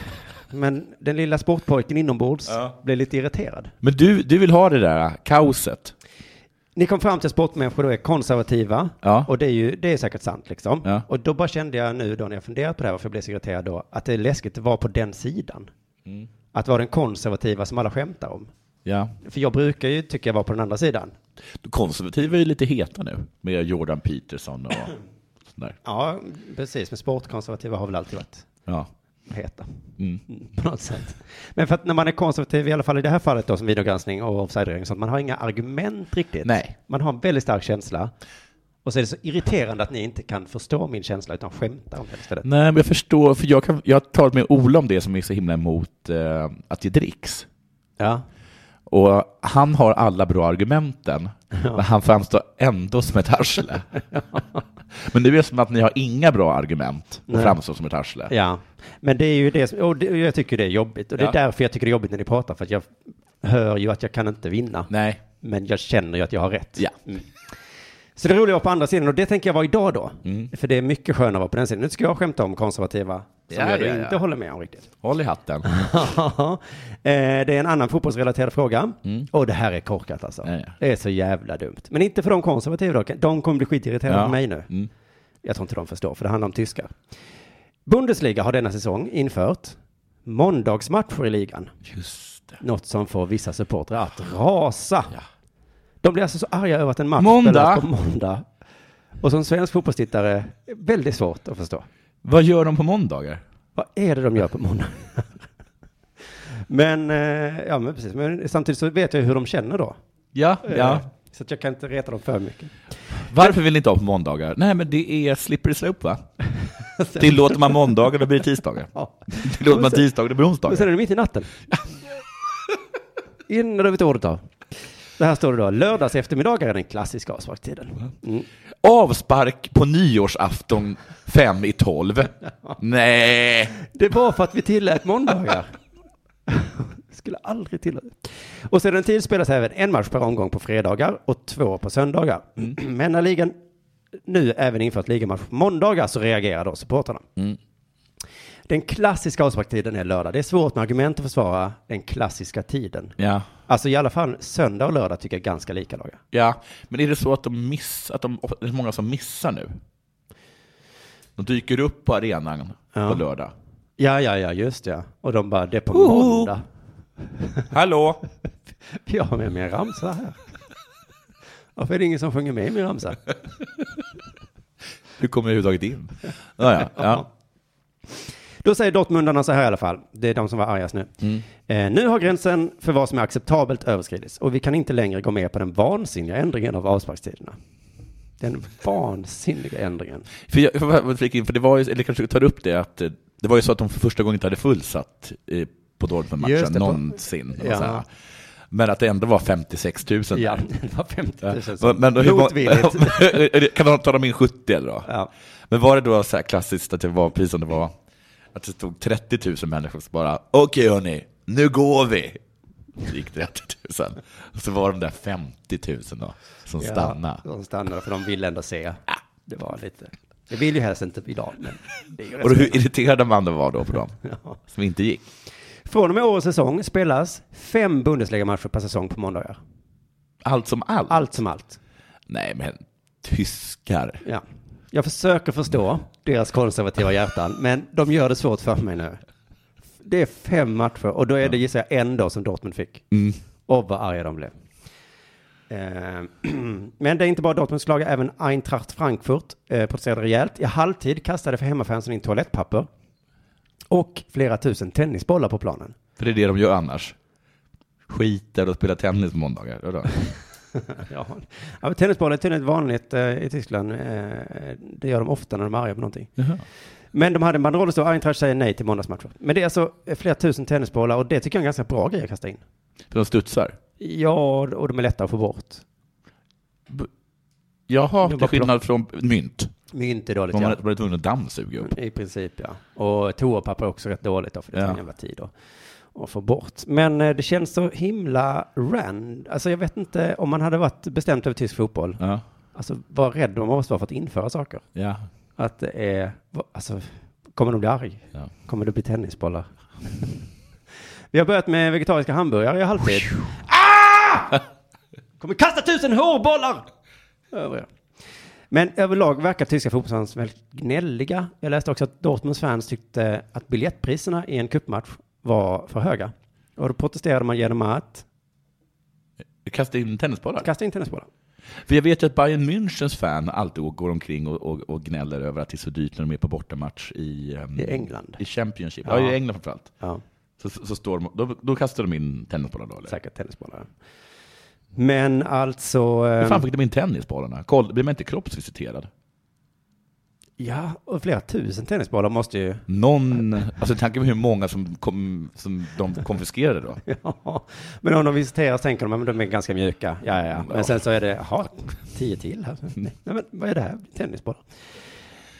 B: Men den lilla sportpojken inombords blev lite irriterad.
D: Men du, du vill ha det där kaoset?
B: Ni kom fram till att sportmänniskor då är konservativa.
D: Ja.
B: Och det är ju, det är säkert sant liksom.
D: Ja.
B: Och då bara kände jag nu då när jag funderat på det här, varför jag blev så irriterad då, att det är läskigt att vara på den sidan. Att vara den konservativa som alla skämtar om.
D: Ja.
B: För jag brukar ju tycka jag var på den andra sidan.
D: Konservativa är ju lite heta nu med Jordan Peterson och sådär.
B: Ja, precis. Men sportkonservativa har väl alltid varit
D: Ja.
B: heta.
D: Mm.
B: *laughs* På något sätt. Men för att när man är konservativ, i alla fall i det här fallet då som videogranskning och offside-regeln, och sånt, man har inga argument riktigt.
D: Nej.
B: Man har en väldigt stark känsla. Och så är det så irriterande att ni inte kan förstå min känsla utan skämtar om det istället.
D: Nej, men jag förstår, för jag, kan, jag har talat med Ola om det som är så himla emot eh, att det dricks.
B: Ja.
D: Och han har alla bra argumenten, men han framstår ändå som
B: *laughs*
D: ett arsle. men nu är det som att ni har inga bra argument och
B: Nej.
D: framstår som ett arsle.
B: ja. Men det är ju det som, och det, och jag tycker det är jobbigt. Och det är
D: Ja.
B: därför jag tycker det är jobbigt när ni pratar, för att jag hör ju att jag kan inte vinna.
D: Nej.
B: Men jag känner ju att jag har rätt.
D: Ja.
B: Så det roliga var på andra sidan och det tänker jag vara idag då.
D: Mm.
B: För det är mycket skönare att vara på den sidan. Nu ska jag skämta om konservativa som
D: Ja,
B: jag då
D: ja, ja.
B: inte håller med om riktigt.
D: Håll i hatten.
B: Ja, *laughs* eh, det är en annan fotbollsrelaterad fråga. Och det här är korkat alltså.
D: Mm. Ja, ja.
B: Det är så jävla dumt. Men inte för de konservativa dock. De kommer bli skitirriterade
D: Ja.
B: på mig nu.
D: Mm.
B: Jag tror inte de förstår, för det handlar om tyskar. Bundesliga har denna säsong infört måndagsmatcher i ligan.
D: Just det.
B: Något som får vissa supportrar att rasa. De blir alltså så arga över att en match
D: Måndag.
B: spelas på måndag. Och som svensk fotbollstittare, väldigt svårt att förstå.
D: Vad gör de på måndagar?
B: Vad är det de gör på måndag? *laughs* men, eh, ja men precis. Men samtidigt så vet jag hur de känner då.
D: Ja,
B: Eh,
D: ja.
B: Så att jag kan inte reta dem för mycket.
D: Varför vill ni inte ha på måndagar? Nej, men det är slippery
B: *laughs*
D: slope, va? Tillåter man måndagar, då blir det tisdagar.
B: Ja.
D: Tillåter man tisdagar, då blir det
B: Men sen
D: onsdagar.
B: är det mitt i
D: *laughs*
B: natten. Innan du vet ordet av. Det här står det då. Lördags eftermiddagar är den klassiska avsparkstiden. Mm.
D: Avspark på nyårsafton fem i tolv. Nej!
B: Det var för att vi tillät måndagar. *laughs* Skulle aldrig tillåta. Och sedan tid spelas även en match per omgång på fredagar och två på söndagar. Men när ligan nu även infört ligamatch på måndagar så reagerar då supportrarna. Den klassiska avsparktiden är lördag. Det är svårt med argument att försvara den klassiska tiden.
D: Ja.
B: Alltså i alla fall söndag och lördag tycker jag är ganska lika dagar.
D: ja, men är det så att de miss, att de, det är många som missar nu? De dyker upp på arenan
B: Ja.
D: på lördag.
B: Ja, ja, ja, just ja. Oh! Och de bara, det är på
D: Oho.
B: måndag. *laughs*
D: Hallå!
B: Jag har med mig en ramsa här. Varför är det ingen som sjunger med i min ramsa?
D: Hur kommer jag överhuvudtaget in? Ja, ja, ja.
B: Då säger Dortmundarna så här i alla fall. Det är de som var argast nu.
D: Mm.
B: Eh, nu har gränsen för vad som är acceptabelt överskridits och vi kan inte längre gå med på den vansinniga ändringen av avsparkstiderna. Den vansinniga ändringen.
D: För jag, för, för, för, för det var ju, eller kanske tar upp det, att eh, det var ju så att de för första gången inte hade fullsatt eh, på
B: Just
D: Dortmund-matchen
B: det, på-
D: någonsin. och
B: Ja.
D: så här. Men att det ändå var 56 000
B: Ja, *laughs*
D: där.
B: det var 50 000.
D: Ja, Men då, hur *laughs*
B: Motvilligt.
D: många, kan de ta dem in 70 eller då?
B: Ja.
D: Men var det då så här klassiskt att det var precis som det var, att det stod 30 000 människor som bara, okej hörni, nu går vi. Så gick det 30 000. Och så var de där 50 000 då, som stannade.
B: Ja, de stannade för de ville ändå se. Det var lite. Det vill ju helst inte idag. Men det är ju rätt
D: Och hur irriterade man då var då på dem,
B: *laughs*
D: som inte gick.
B: Från och med årets säsong spelas fem Bundesliga-matcher per säsong på måndagar.
D: Allt som allt.
B: Allt som allt.
D: Nej men, tyskar.
B: Ja. Jag försöker förstå deras konservativa hjärtan, men de gör det svårt för mig nu. Det är fem matcher och då är det gissar jag en då som Dortmund fick. Och vad arga de blev. Eh, *clears throat* Men det är inte bara Dortmunds lag, även Eintracht Frankfurt eh, protesterade rejält. I halvtid kastade för hemmafansen in toalettpapper och flera tusen tennisbollar på planen.
D: För det är det de gör annars. Skiter och spelar tennis på måndagar. Ja, då.
B: Ja, ja men tennisboll är tydligen ett vanligt eh, i Tyskland. Eh, det gör de ofta när de är arga på någonting. Men de hade en banderoll där det stod Eintracht säger nej till måndagsmatcher. Men det är alltså eh, flera tusen tennisbollar och det tycker jag är en ganska bra grej att kasta in.
D: För de studsar.
B: Ja, och de är lätta att få bort.
D: Jaha,
B: De
D: till
B: bara
D: skillnad från mynt.
B: Mynt är dåligt,
D: Man
B: ja.
D: var var tvungen att dammsuga upp.
B: I princip, ja. Och toapapper är också rätt dåligt då, för det tar
D: Ja.
B: en jävla tid då att få bort. Men eh, det känns så himla rand. Alltså jag vet inte, om man hade varit bestämt över tysk fotboll,
D: Ja,
B: alltså var rädd de måste vara för att införa saker.
D: ja.
B: Att det är, va- alltså, kommer de bli arg?
D: Ja.
B: Kommer det bli tennisbollar? *laughs* Vi har börjat med vegetariska hamburgare i halvtid. Ah! Kommer kasta tusen hårbollar! Övriga. Men överlag verkar tyska fotbollsfans väldigt gnälliga. Jag läste också att Dortmunds fans tyckte att biljettpriserna i en cupmatch var för höga. Och då protesterade man genom att
D: Kasta in tennisbollar.
B: kasta in tennisbollar.
D: För jag vet ju att Bayern Münchens fan alltid går omkring och, och, och gnäller över att det är så dyrt när de är på bortamatch i, ehm,
B: I England.
D: I Championship.
B: Ja.
D: Ja, i England framförallt.
B: Ja.
D: Så, så så står de, då, då kastar de in tennisbollar då, eller?
B: Säkert tennisbollar. Men alltså...
D: Hur
B: ehm,
D: fan fick de in tennisbollarna? Koll, blir man inte kroppsvisiterad?
B: Ja, och flera tusen tennisbollar måste ju... *laughs*
D: Någon, alltså tanken på hur många som, kom, som de konfiskerade då.
B: Ja, men om de visiterar så tänker de att de är ganska mjuka. Ja, ja, ja. Men
D: Ja.
B: sen så är det, jaha, tio till här. *laughs* Nej, men vad är det här? Tennisbollar.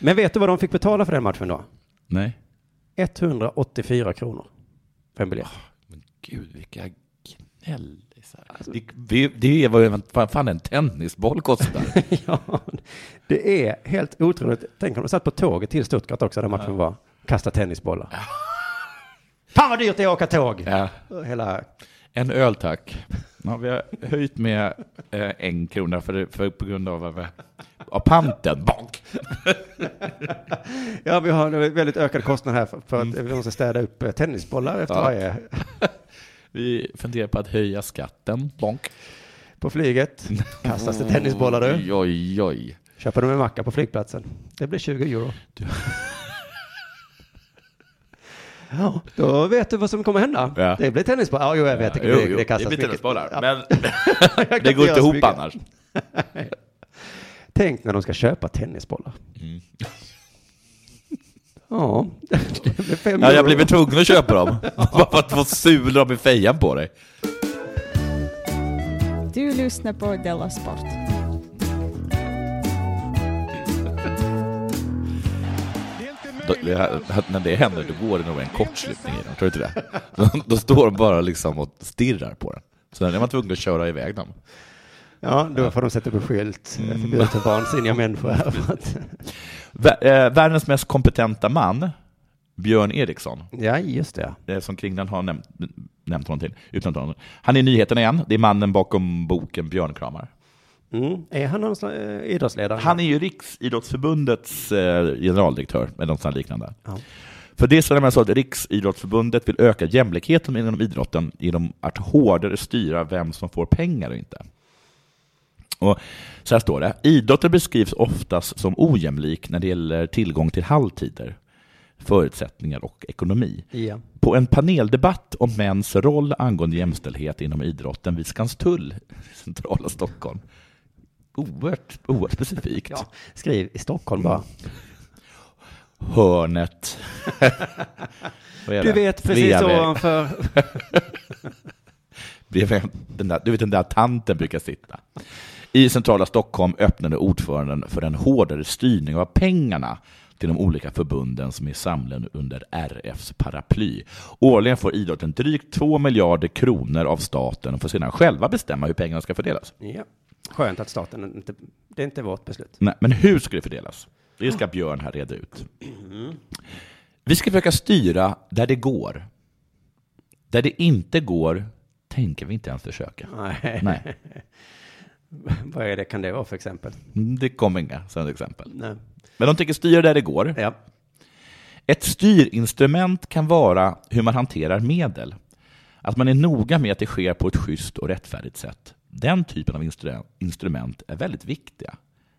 B: Men vet du vad de fick betala för den matchen då?
D: Nej.
B: 184 kronor för en biljett.
D: Men gud, vilka gnällisar. Det, det, det är vad en- vad fan en tennisboll kostar.
B: *laughs* ja, *laughs* det är helt otroligt. Tänk om de satt på tåget till Stuttgart också, där matchen var. Kasta tennisbollar. Fan vad dyrt det är att åka tåg!
D: ja.
B: Hela,
D: En öl tack. Ja, vi har höjt med eh, en krona för, för, på grund av, av, av panten. Bonk.
B: ja, vi har en väldigt ökad kostnad här för, för att vi måste städa upp eh, tennisbollar efter
D: Mm. Ja.
B: varje
D: Vi funderar på att höja skatten. Bonk.
B: på flyget. Kastas det tennisbollar du.
D: Oj, oj, oj.
B: Köper de en macka på flygplatsen. Det blir 20 euro. Ja, då vet du vad som kommer hända.
D: Ja.
B: Det blir tennisbollar. Ja, jo, jag vet. Det,
D: Jo,
B: det,
D: jo,
B: det kastas
D: blir
B: mycket.
D: tennisbollar.
B: Ja,
D: Men
B: *laughs* jag kan
D: det går
B: göra
D: inte
B: så
D: ihop
B: mycket.
D: annars.
B: Tänk när de ska köpa tennisbollar.
D: Mm.
B: Ja, det blir fem
D: Ja, jag
B: euro.
D: blev tvungen att köpa dem. *laughs* Bara för att få sulor med fejan på dig.
F: Du lyssnar på Della Sport.
D: Då, det här- att när det händer, då går det nog en kortslutning i dem, tror du inte det? *laughs* Då, då står de bara liksom och stirrar på den. Så den är man tvungen att köra iväg dem.
B: Ja, då får de sätta upp en skylt.
D: Mm.
B: Förbjudet för vansinniga människor. här.
D: *laughs* Vä- eh, världens mest kompetenta man, Björn Eriksson,
B: Ja, just det.
D: eh, som Kringland har nämnt, nämnt honom till, utan att ta honom. Han är i nyheterna igen, det är mannen bakom boken Björnkramar.
B: Mm. Är han någon slags, eh, idrottsledare?
D: Han är ju Riksidrottsförbundets eh, generaldirektör, eller något sånt liknande.
B: Ja.
D: För det är så nämligen så att Riksidrottsförbundet vill öka jämlikheten inom idrotten genom att hårdare styra vem som får pengar och inte. Och så här står det. Idrotter beskrivs oftast som ojämlik när det gäller tillgång till halvtider. förutsättningar och ekonomi.
B: Ja.
D: På en paneldebatt om mäns roll angående jämställdhet inom idrotten vid Skanstull i centrala Stockholm. Oerhört, oerhört specifikt.
B: ja. Skriv i Stockholm bara. *laughs*
D: Hörnet. Vad är
B: Du
D: det?
B: vet precis
D: Sveavägen.
B: ovanför.
D: bredvid den där, du vet den där tanten brukar sitta. I centrala Stockholm öppnade ordföranden för en hårdare styrning av pengarna till de olika förbunden som är samlade under RFs paraply. Årligen får idrotten drygt 2 miljarder kronor av staten och får sedan själva bestämma hur pengarna ska fördelas.
B: *laughs* Ja. Skönt att staten inte, det är inte vårt beslut.
D: Nej, men hur ska det fördelas? Det ska Björn här reda ut. Vi ska försöka styra där det går. Där det inte går tänker vi inte ens försöka.
B: Nej. *laughs*
D: Nej.
B: Vad är det, kan det vara för exempel?
D: Mm, Det kom inga sådana exempel.
B: Nej.
D: Men de tänker styra där det går.
B: Ja.
D: Ett styrinstrument kan vara hur man hanterar medel. Att man är noga med att det sker på ett schysst och rättfärdigt sätt. Den typen av instru- instrument är väldigt viktiga,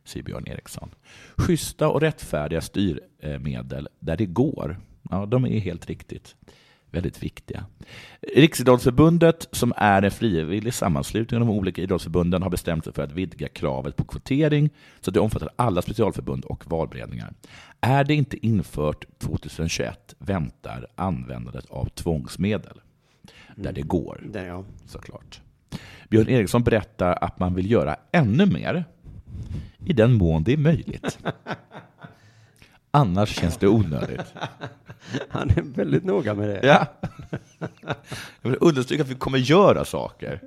D: säger Björn Eriksson. Schyssta och rättfärdiga styrmedel där det går. Ja, de är helt riktigt väldigt viktiga. Riksidrottsförbundet, som är en frivillig sammanslutning av de olika idrottsförbunden, har bestämt sig för att vidga kravet på kvotering så att det omfattar alla specialförbund och valberedningar. Är det inte infört 2021 väntar användandet av tvångsmedel, där det går
B: Den, ja.
D: såklart. Björn Eriksson berättar att man vill göra ännu mer i den mån det är *laughs* möjligt. Annars känns det onödigt.
B: Han är väldigt noga med det.
D: *laughs* Ja. Jag vill understryka att vi kommer göra saker.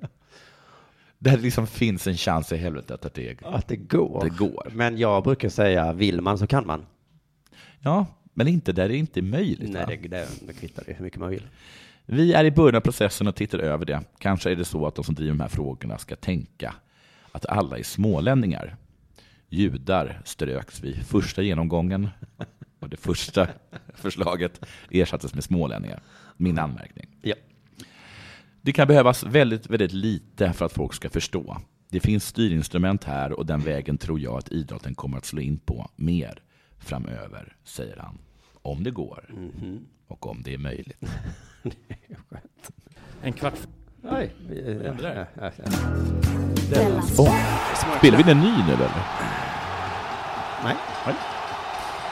D: Där det liksom finns en chans i helvetet att det är...
B: Att det går.
D: Det går.
B: Men jag brukar säga, vill man så kan man.
D: Ja, men inte där det inte är möjligt.
B: Nej,
D: va?
B: det, det, det kvittar ju hur mycket man vill.
D: Vi är i början av processen och tittar över det. Kanske är det så att de som driver de här frågorna ska tänka att alla är smålänningar. Judar ströks vid första genomgången och det första *laughs* förslaget ersattes med smålänningar. Min anmärkning.
B: Ja.
D: Det kan behövas väldigt, väldigt lite för att folk ska förstå. Det finns styrinstrument här och den vägen tror jag att idrotten kommer att slå in på mer framöver, säger han. Om det går och om det är möjligt.
B: Nej, vi, ja, ja, ja.
D: Spelar vi den ny nu eller?
B: Nej.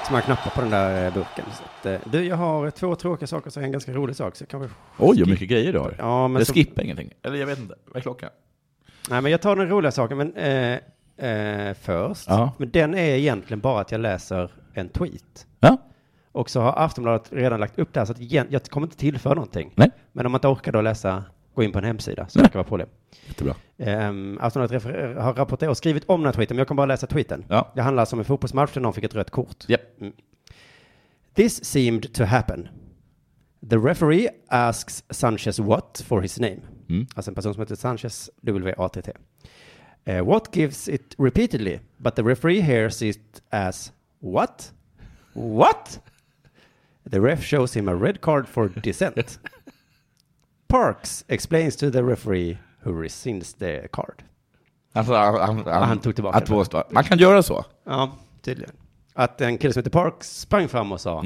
B: Så man knappar på den där eh, burken. Så att, eh, du, jag har eh, två tråkiga saker och så en ganska rolig sak. Så jag kanske...
D: Oj, vad mycket grejer du har.
B: Ja, men
D: jag
B: så-
D: skippar ingenting. Eller jag vet inte. Vad är klockan?
B: Nej, men jag tar den roliga saken men, eh, eh, först.
D: Ja.
B: Men den är egentligen bara att jag läser en tweet.
D: Ja.
B: Och så har Aftonbladet redan lagt upp det här, så att igen, jag kommer inte tillföra någonting.
D: Nej.
B: Men om man inte orkar då läsa, gå in på en hemsida, så
D: Nej.
B: verkar det vara problem.
D: Jättebra.
B: Um, Aftonbladet refer- har rapporterat och skrivit om den här tweeten, men jag kommer bara läsa tweeten.
D: Ja.
B: Det handlar alltså om en fotbollsmatch där någon fick ett rött kort.
D: Japp.
B: This seemed to happen. The referee asks Sanchez what for his name.
D: Mm.
B: Alltså en person som heter Sanchez, W-A-T-T. Eh, what gives it repeatedly, but the referee hears it as what? What? The ref shows him a red card for
D: *laughs*
B: dissent. Parks explains to the referee who rescinds the card.
D: Alltså, han, han,
B: han tog tillbaka
D: att
B: den.
D: påstå. Man kan göra så.
B: Ja, tydligen. Att en kille som heter Parks sprang fram och sa,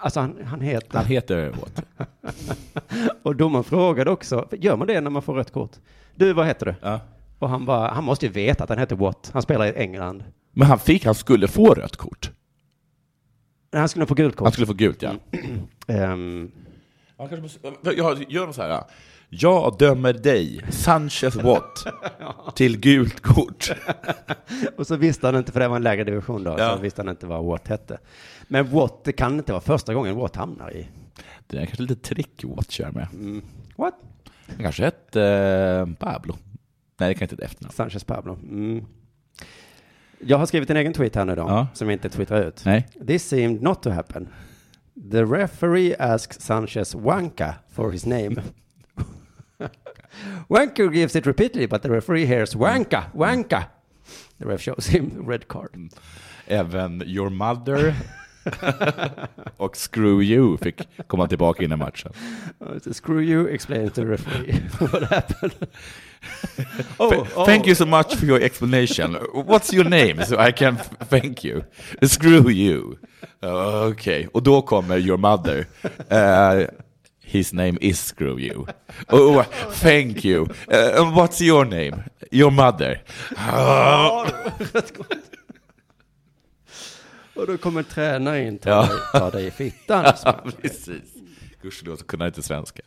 B: alltså han, han heter,
D: Mm. Han heter Watt.
B: och domaren frågade också, gör man det när man får rött kort? Du, vad heter du?
D: Ja.
B: Och han bara, han måste ju veta att han heter Watt, han spelar i England.
D: Men han fick, han skulle få rött kort.
B: Nej, Han skulle nog få gult kort. Mm.
D: Han skulle få gult, ja.
B: Ehm,
D: Han kanske måste, jag gör så här. Jag dömer dig, Sanchez
B: *laughs*
D: Watt, till gult kort.
B: och så visste han inte, för det var en lägre division då,
D: Ja.
B: så visste han inte vad Watt hette. Men Watt, det kan inte vara första gången Watt hamnar i.
D: Det är kanske lite trick Watt kör med.
B: What?
D: Han kanske hette eh, Pablo. Nej, det kan inte ett efternamn.
B: Sanchez Pablo. Mm. Jag har skrivit en egen tweet här nu då,
D: Ja.
B: som jag inte twittrar ut.
D: Nej.
B: This seemed not to happen. The referee asks Sanchez Wanka for his name. *laughs* Wanker gives it repeatedly, but the referee hears Wanka, Wanka. The ref shows him red card.
D: Även Your Mother *laughs* Och Screw You fick komma tillbaka innan matchen.
B: Oh, Screw you, explain to the referee *laughs* what
D: *laughs*
B: happened.
D: Fa-
B: Oh.
D: Thank you so much for your explanation. What's your name? So I can f- thank you. Screw you. Okej, och då kommer your mother. Eh, his name is Screw you. Oh, thank you. Eh, and what's your name? Your mother. *laughs* Ah.
B: Och då kommer tränaren in, ta,
D: Ja.
B: dig, ta dig i fittan.
D: *laughs* Ja, precis. Gudskelov så kunde han inte svenska.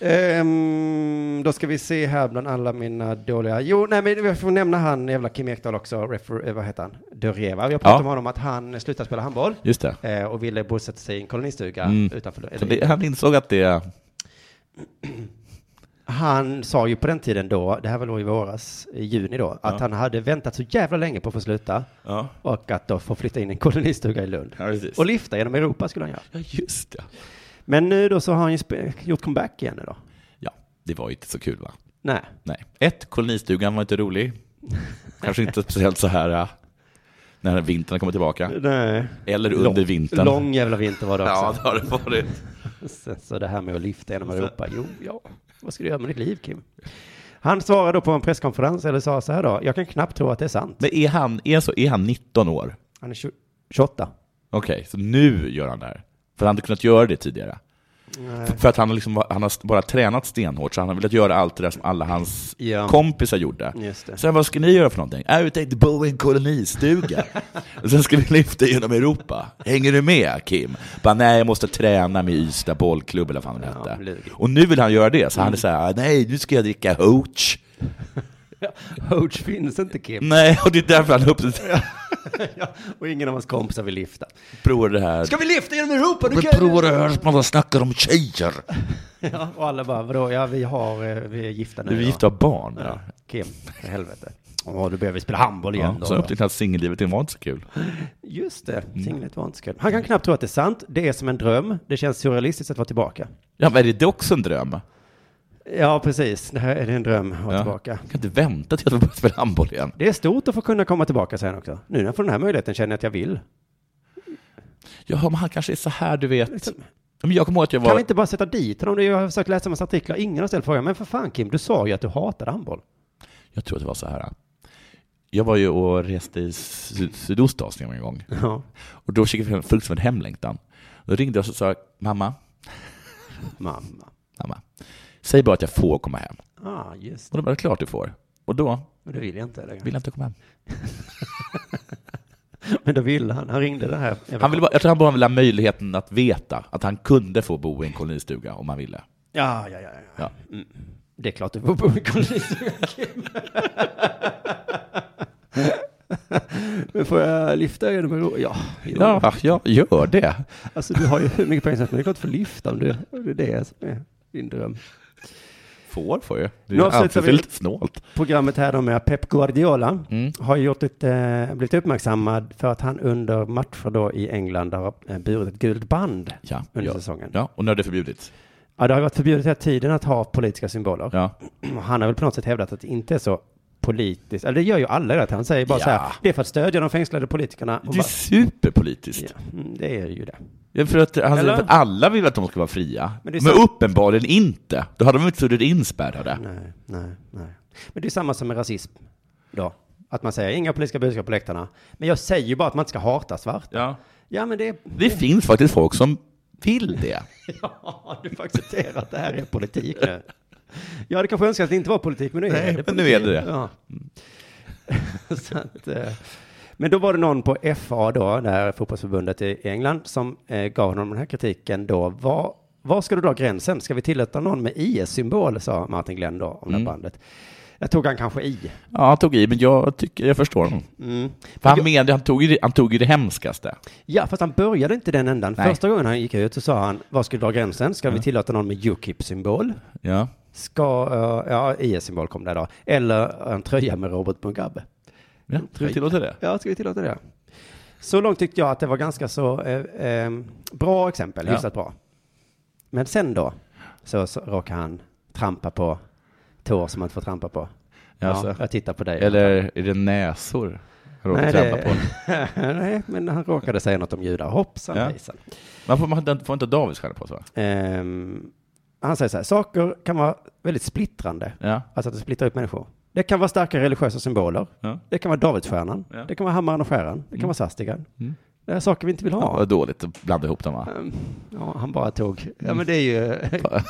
B: Ehm, då ska vi se här bland alla mina dåliga. Jo, nej men jag får nämna han jävla Kim Ekdahl också, refer, eh, vad heter han? Döreva. Jag pratade
D: Ja.
B: om honom att han slutade spela handboll
D: Just det.
B: eh, och ville bosätta sig i en kolonistuga
D: Mm.
B: utanför.
D: Så det han insåg att det...
B: Han sa ju på den tiden då, det här var då i våras, i juni då, att
D: Ja.
B: han hade väntat så jävla länge på att få sluta
D: Ja,
B: och att då få flytta in i en kolonistuga i Lund.
D: Ja, precis.
B: Och lyfta genom Europa skulle han göra.
D: ja just det.
B: Men nu då så har han ju spe- gjort comeback igen nu då.
D: Ja, det var ju inte så kul va?
B: Nej.
D: Nej. Ett, kolonistugan var inte rolig. Kanske inte speciellt så här eh, när vintern kommer tillbaka.
B: Nej.
D: Eller under
B: lång,
D: vintern.
B: Lång jävla vinter var det också.
D: Ja, det har det varit.
B: Sen så det här med att lyfta genom Europa, jo, ja, vad ska du göra med ditt liv, Kim? Han svarade då på en presskonferens, eller sa så här då, jag kan knappt tro att det är sant.
D: Men är han, är, så, är han 19 år?
B: Han är tjo- 28.
D: Okej, så nu gör han det här. För han hade kunnat göra det tidigare. För, för att han, har liksom, var- han har st- bara tränat stenhårt, så han har velat göra allt det där som alla hans
B: Ja.
D: kompisar gjorde.
B: Just det.
D: Sen vad ska ni göra för någonting? Äh, vi tänkte bo i en
B: *laughs*
D: kolonistuga. Och Sen ska vi lyfta genom Europa. Hänger du med Kim? Bara, nej, jag måste träna med Ystad bollklubb eller vad fan
B: Ja, Mm.
D: det hette.
B: lurig.
D: Och nu vill han göra det, så han är så här, nej, nu ska jag dricka hooch.
B: Hoach finns inte, Kim.
D: Nej, och det är därför han upp...
B: ja, och ingen av hans kompisar vill lyfta.
D: provar det här.
B: Ska vi lyfta genom Europa? Du
D: Men
B: kan...
D: provar det här som alla snackar om tjejer.
B: ja, och alla bara, vadå, ja, vi, har, eh, vi är gifta nu.
D: Du är
B: ja.
D: gift och har barn.
B: Ja,
D: Ja.
B: Kim, för helvete. Åh, då behöver vi spela handboll igen
D: Ja,
B: då.
D: så upptäckte att singellivet det var inte så kul.
B: Just det, singlet var inte så kul. Han kan knappt tro att det är sant. Det är som en dröm. Det känns surrealistiskt att vara tillbaka.
D: Ja, men är det också en dröm?
B: Ja, precis. Det här är en dröm att vara
D: Ja.
B: tillbaka.
D: Jag kan inte vänta till att vi börjar spela handboll igen.
B: Det är stort att få kunna komma tillbaka sen också. Nu när jag får den här möjligheten känner jag att jag vill.
D: Ja, men han kanske är så här, du
B: Liksom,
D: vet. Men jag kommer ihåg att jag var...
B: Kan vi inte bara sätta dit honom? Jag har försökt läsa en massa artiklar. Ingen har ställt frågan. Men för fan Kim, du sa ju att du hatade handboll.
D: Jag tror att det var så här. Jag var ju och reste i syd- Sydostasien en gång.
B: Ja.
D: Och då fick jag en fruktansvärd hemlängtan. Då ringde jag och så sa jag, mamma,
B: Mamma.
D: mamma, säg bara att jag får komma hem.
B: Ah, just
D: Och då var det klart du får. Och då
B: Men det vill jag inte. Eller?
D: vill jag inte komma hem.
B: Men då ville han. Han ringde det här.
D: Han ville bara, jag tror han bara ville ha möjligheten att veta att han kunde få bo i en kolonistuga om han ville.
B: Ja, ja, ja. ja.
D: Ja.
B: Mm. Det är klart du får bo i kolonistuga, Kim. Men får jag lyfta genom Europa? Ja. jo.
D: Ja, ja gör det.
B: Alltså du har ju hur mycket pengar som helst, men det är klart du får lyfta om du, om det är det som är din dröm.
D: Får får ju. Det
B: Nu avslutar
D: anses
B: vi-
D: vi... lite snålt.
B: programmet här då med Pep Guardiola
D: Mm.
B: har gjort ett, eh, blivit uppmärksammad för att han under matcher då i England har eh, burit ett gult band
D: Ja,
B: under
D: ja.
B: säsongen. Ja.
D: ja, och nu är det förbjudet.
B: det har ju varit förbjudet hela tiden att ha politiska symboler.
D: Ja.
B: *clears throat* Och Han har väl på något sätt hävdat att det inte är så politiskt, eller det gör ju alla att han säger bara
D: Ja.
B: så här, det är för att stödja de fängslade politikerna. Och
D: Det är
B: bara,
D: superpolitiskt.
B: ja, mm, det är ju det.
D: Ja, för att han
B: Eller?
D: säger att alla vill att de ska vara fria.
B: Men
D: Men,
B: det är sant.
D: uppenbarligen inte. Då hade de inte suttit inspärrade.
B: Nej, nej, nej. Men det är samma som med rasism då. Att man säger inga politiska budskap på läktarna. Men jag säger ju bara att man inte ska hata svart.
D: Ja.
B: Ja, men det är
D: Det finns faktiskt folk som vill det.
B: *laughs* Ja, du får acceptera att det här är
D: *laughs*
B: politik nu. Jag hade kanske önskat att det inte var politik, men nu är
D: Nej,
B: det
D: men nu är det
B: politik.
D: det.
B: Ja. *laughs* Så att, eh, men då var det någon på FA då, det här fotbollsförbundet i England, som eh, gav honom den här kritiken då. Var, var ska du dra gränsen? Ska vi tillåta någon med IS-symbol, sa Martin Glenn då, om det
D: Mm.
B: här bandet. Jag tog han kanske i.
D: Ja, han tog i, men jag, tycker, jag förstår honom.
B: Mm.
D: För han, menade, han, tog i, det- han tog i det hemskaste.
B: Ja, fast han började inte den ändan.
D: Nej. Mm.
B: Första gången han gick ut så sa han, var ska du dra gränsen? Ska vi tillåta någon med Ukip-symbol?
D: Ja.
B: ska, eh, ja, IS-symbol kom där då, eller en tröja med Robert Mugabe.
D: Ja, tror jag tillåter det.
B: Ja, ska vi tillåta det? Så långt tyckte jag att det var ganska så eh, eh, bra exempel,
D: Ja.
B: hyfsat bra. Men sen då, så, så råkar han trampa på tår som man inte får trampa på. Ja,
D: Alltså.
B: jag tittar på dig.
D: Eller är det näsor? Jag råkade trampa på.
B: *laughs* nej, men han råkade säga något om judar. Hoppsan
D: Ja.
B: hejsan.
D: Man får, man får inte Davids stjärna på sig va?
B: Ehm, han säger så här, saker kan vara väldigt splittrande.
D: Ja.
B: Alltså att det splittrar upp människor. Det kan vara starka religiösa symboler.
D: Ja.
B: Det kan vara Davidsstjärnan.
D: Ja.
B: Det kan vara hammaren och skäran. Det kan vara svastikan.
D: Mm.
B: Det är saker vi inte vill
D: Ja.
B: ha.
D: Vad dåligt att blanda ihop dem va?
B: Ehm, Ja, han bara tog. Ja, men det är ju... eh, *laughs*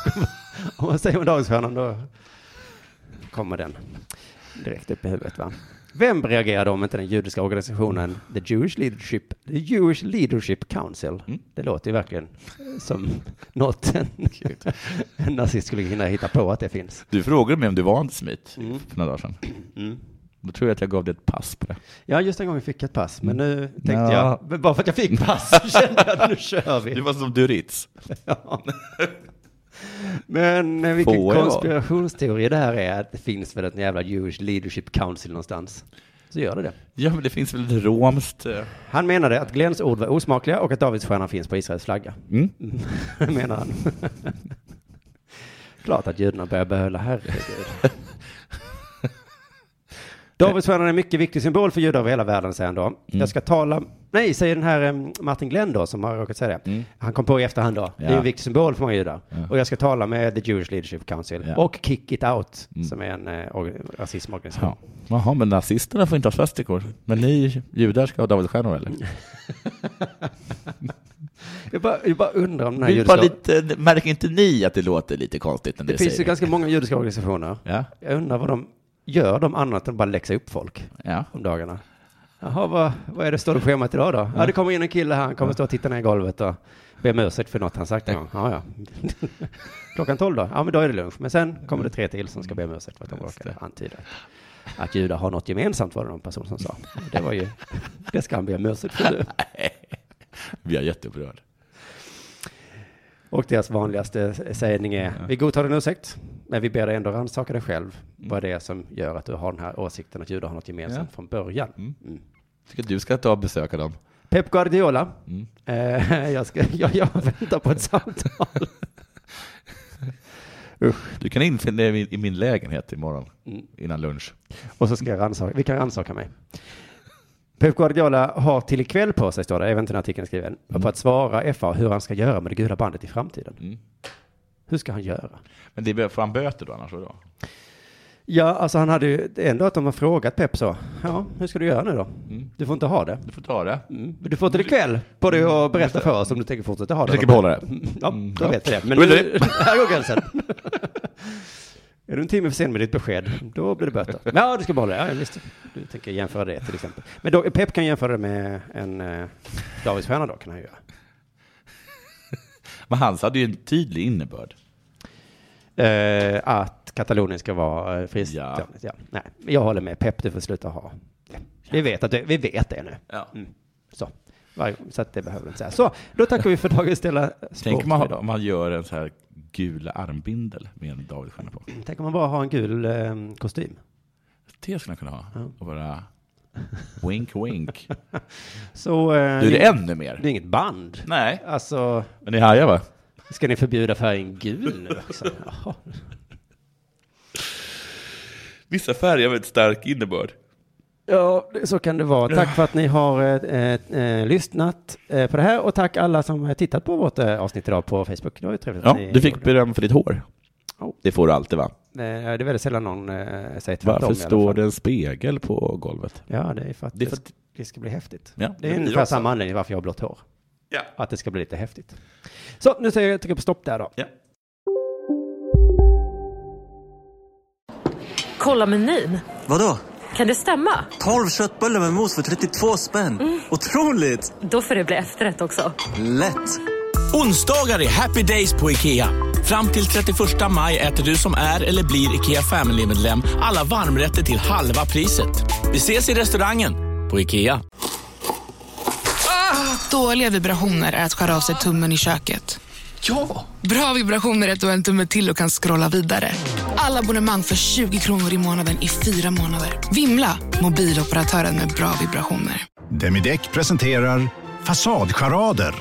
B: om man säger om Davidsstjärnan då kommer den direkt upp i huvudet va. Vem reagerade om inte den judiska organisationen The Jewish Leadership, The Jewish Leadership Council?
D: Mm.
B: Det låter ju verkligen som något en, en nazist skulle hinna hitta på att det finns.
D: Du frågade mig om du var antisemit
B: Mm.
D: för några dagar sedan.
B: Mm.
D: Då tror jag att jag gav dig ett pass på det.
B: Ja, just en gång fick jag ett pass, men nu tänkte
D: Ja.
B: jag, men bara för att jag fick
D: *laughs*
B: pass *laughs* så kände jag att nu kör
D: Du
B: vi.
D: var som Duritz.
B: Ja. Men eh, vilken
D: Får jag?
B: konspirationsteori det här är, att det finns väl ett jävla Jewish Leadership Council någonstans. Så gör det det.
D: Ja, men det finns väl ett romskt... eh,
B: Han menade att Glens ord var osmakliga och att Davidsstjärnan finns på Israels flagga.
D: Mm.
B: *laughs* menar han. Klart att judarna börjar behålla,
D: *laughs*
B: herregud. Davidsstjärnan är en mycket viktig symbol för judar över hela världen, säger han
D: Mm.
B: då. Jag ska tala, nej, säger den här em, Martin Glenn då, som har råkat säga det. Han kom på i efterhand då, det är
D: Mm. Ja.
B: en viktig symbol för många judar. Och jag ska tala med The Jewish Leadership Council
D: Ja. Mm.
B: och Kick It Out, som är en eh, orga- rasismorganisation.
D: Ja. Jaha, men nazisterna får inte ha svastikor. Men ni judar ska ha Davidsstjärnor eller?
B: Jag, bara, jag bara undrar om den här
D: Det är bara
B: judiska...
D: lite, märker inte ni att det låter lite konstigt när
B: Det
D: ni
B: finns ju
D: säger det?
B: ganska många judiska organisationer.
D: Ja,
B: Jag undrar vad de gör de annat än bara läxa upp folk
D: ja.
B: om dagarna. Jaha, vad, vad är det står i schemat idag då? Ja, det kommer in en kille här, han kommer stå och titta ner i golvet och be om ursäkt för något han sagt en gång. Ja, *laughs* ja. Klockan tolv då? Ja, men då är det lunch. Men sen kommer det tre till som ska be om ursäkt för att de råkade antyda att- att judar har något gemensamt, var det någon person som sa. Det var *laughs* ju, det ska han be om ursäkt för nu.
D: Vi är jätteupprörda.
B: Och deras vanligaste sägning är, vi godtar din ursäkt, men vi ber dig ändå rannsaka dig själv. Vad det är som gör att du har den här åsikten att judar har något gemensamt
D: Mm. Ja.
B: från början. Mm.
D: Tycker du ska ta och besöka dem?
B: Pep Guardiola,
D: Mm.
B: eh, jag, ska, jag, jag väntar på ett
D: *laughs*
B: samtal.
D: Du kan infinna dig i min- i min lägenhet imorgon
B: Mm.
D: innan lunch.
B: Och så ska jag rannsaka, vi kan rannsaka mig. Pep Guardiola har till ikväll på sig, står det, även till den artikeln är skriven, på att svara FA hur han ska göra med det gula bandet i framtiden.
D: Mm.
B: Hur ska han göra?
D: Men det får han böter då annars? Då?
B: Ja, alltså han hade ju, ändå att de har frågat Pep så, ja, hur ska du göra nu då?
D: Mm.
B: Du får inte ha det.
D: Du får ta det.
B: Mm. Du får till ikväll på dig att berätta för oss om du tänker fortsätta ha det.
D: Jag tänker behålla det.
B: Mm, Ja,
D: Mm,
B: då
D: ja.
B: vet vi det. Men
D: Då är
B: nu,
D: det.
B: *laughs* här går gränsen. Är du en timme för sen med ditt besked, då blir det böter. Men Ja, du ska behålla det. Ja, visst. Du tänker jämföra det till exempel. Men då, Pep kan jämföra det med en eh, Davidsstjärna då, kan han göra.
D: Men hans hade ju en tydlig innebörd.
B: Eh, att Katalonien ska vara eh, frist. Ja.
D: Ja.
B: Nej, jag håller med. Pep, du får sluta ha det. Vi vet, att det, vi vet det nu.
D: Ja.
B: Mm. Så. Varje gång. Så att det behöver du inte säga. Så, då tackar vi för dagens ställa
D: Tänk om man, om man gör en så här gul armbindel med en Davidsstjärna på.
B: Tänk om man bara har en gul eh, kostym.
D: Det skulle han kunna ha.
B: Ja.
D: Och bara wink wink.
B: Så, eh,
D: *laughs* Du, det
B: det,
D: är
B: är
D: ännu mer.
B: inget band.
D: Nej,
B: Alltså,
D: men ni hajar va?
B: ska ni förbjuda färgen gul *laughs* nu också? Jaha.
D: Vissa färger har en stark innebörd.
B: Ja, det- så kan det vara. Tack för att ni har eh, eh, eh, lyssnat eh, på det här och tack alla som har tittat på vårt eh, avsnitt idag på Facebook. Det var ju trevligt.
D: Ja,
B: att ni
D: du fick
B: gjorde.
D: beröm för ditt hår.
B: Ja.
D: Det får du alltid va?
B: Eh, Det är väldigt sällan någon eh, säger tvärtom. i
D: Varför
B: alla
D: står
B: fall.
D: det en spegel på golvet?
B: Ja, det är för att
D: Det
B: det,
D: är för att-
B: det ska bli häftigt.
D: Ja,
B: det
D: det
B: är
D: blir
B: ungefär
D: också.
B: samma anledning varför jag har blått hår.
D: Ja.
B: Att det ska bli lite häftigt. Så, nu säger jag trycker på stopp där då.
G: Kolla menyn.
H: Vadå?
G: Kan det stämma?
H: 12 köttbullar med mos för 32 spänn. Otroligt!
G: Då får det bli efterrätt också.
H: Lätt!
I: Onsdagar är happy days på IKEA. Fram till 31 maj äter du som är eller blir IKEA Family-medlem alla varmrätter till halva priset. Vi ses i restaurangen på IKEA.
J: Dåliga vibrationer är att skära av sig tummen i köket.
I: Ja!
J: Bra vibrationer är att du har en tumme till och kan scrolla vidare. Alla abonnemang för 20 kronor i månaden i fyra månader. Vimla! Mobiloperatören med bra vibrationer.
K: Demideck presenterar Fasadcharader.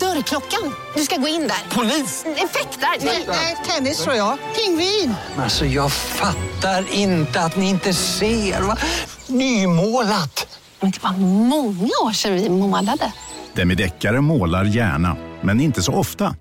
G: Dörrklockan. Du ska gå in där. Polis? Effektar? Nej, tennis tror jag. Pingvin.
H: Alltså, jag fattar inte att ni inte ser. Va? Nymålat!
L: Men det var många år sedan vi målade.
K: Demideckare målar gärna, men inte så ofta.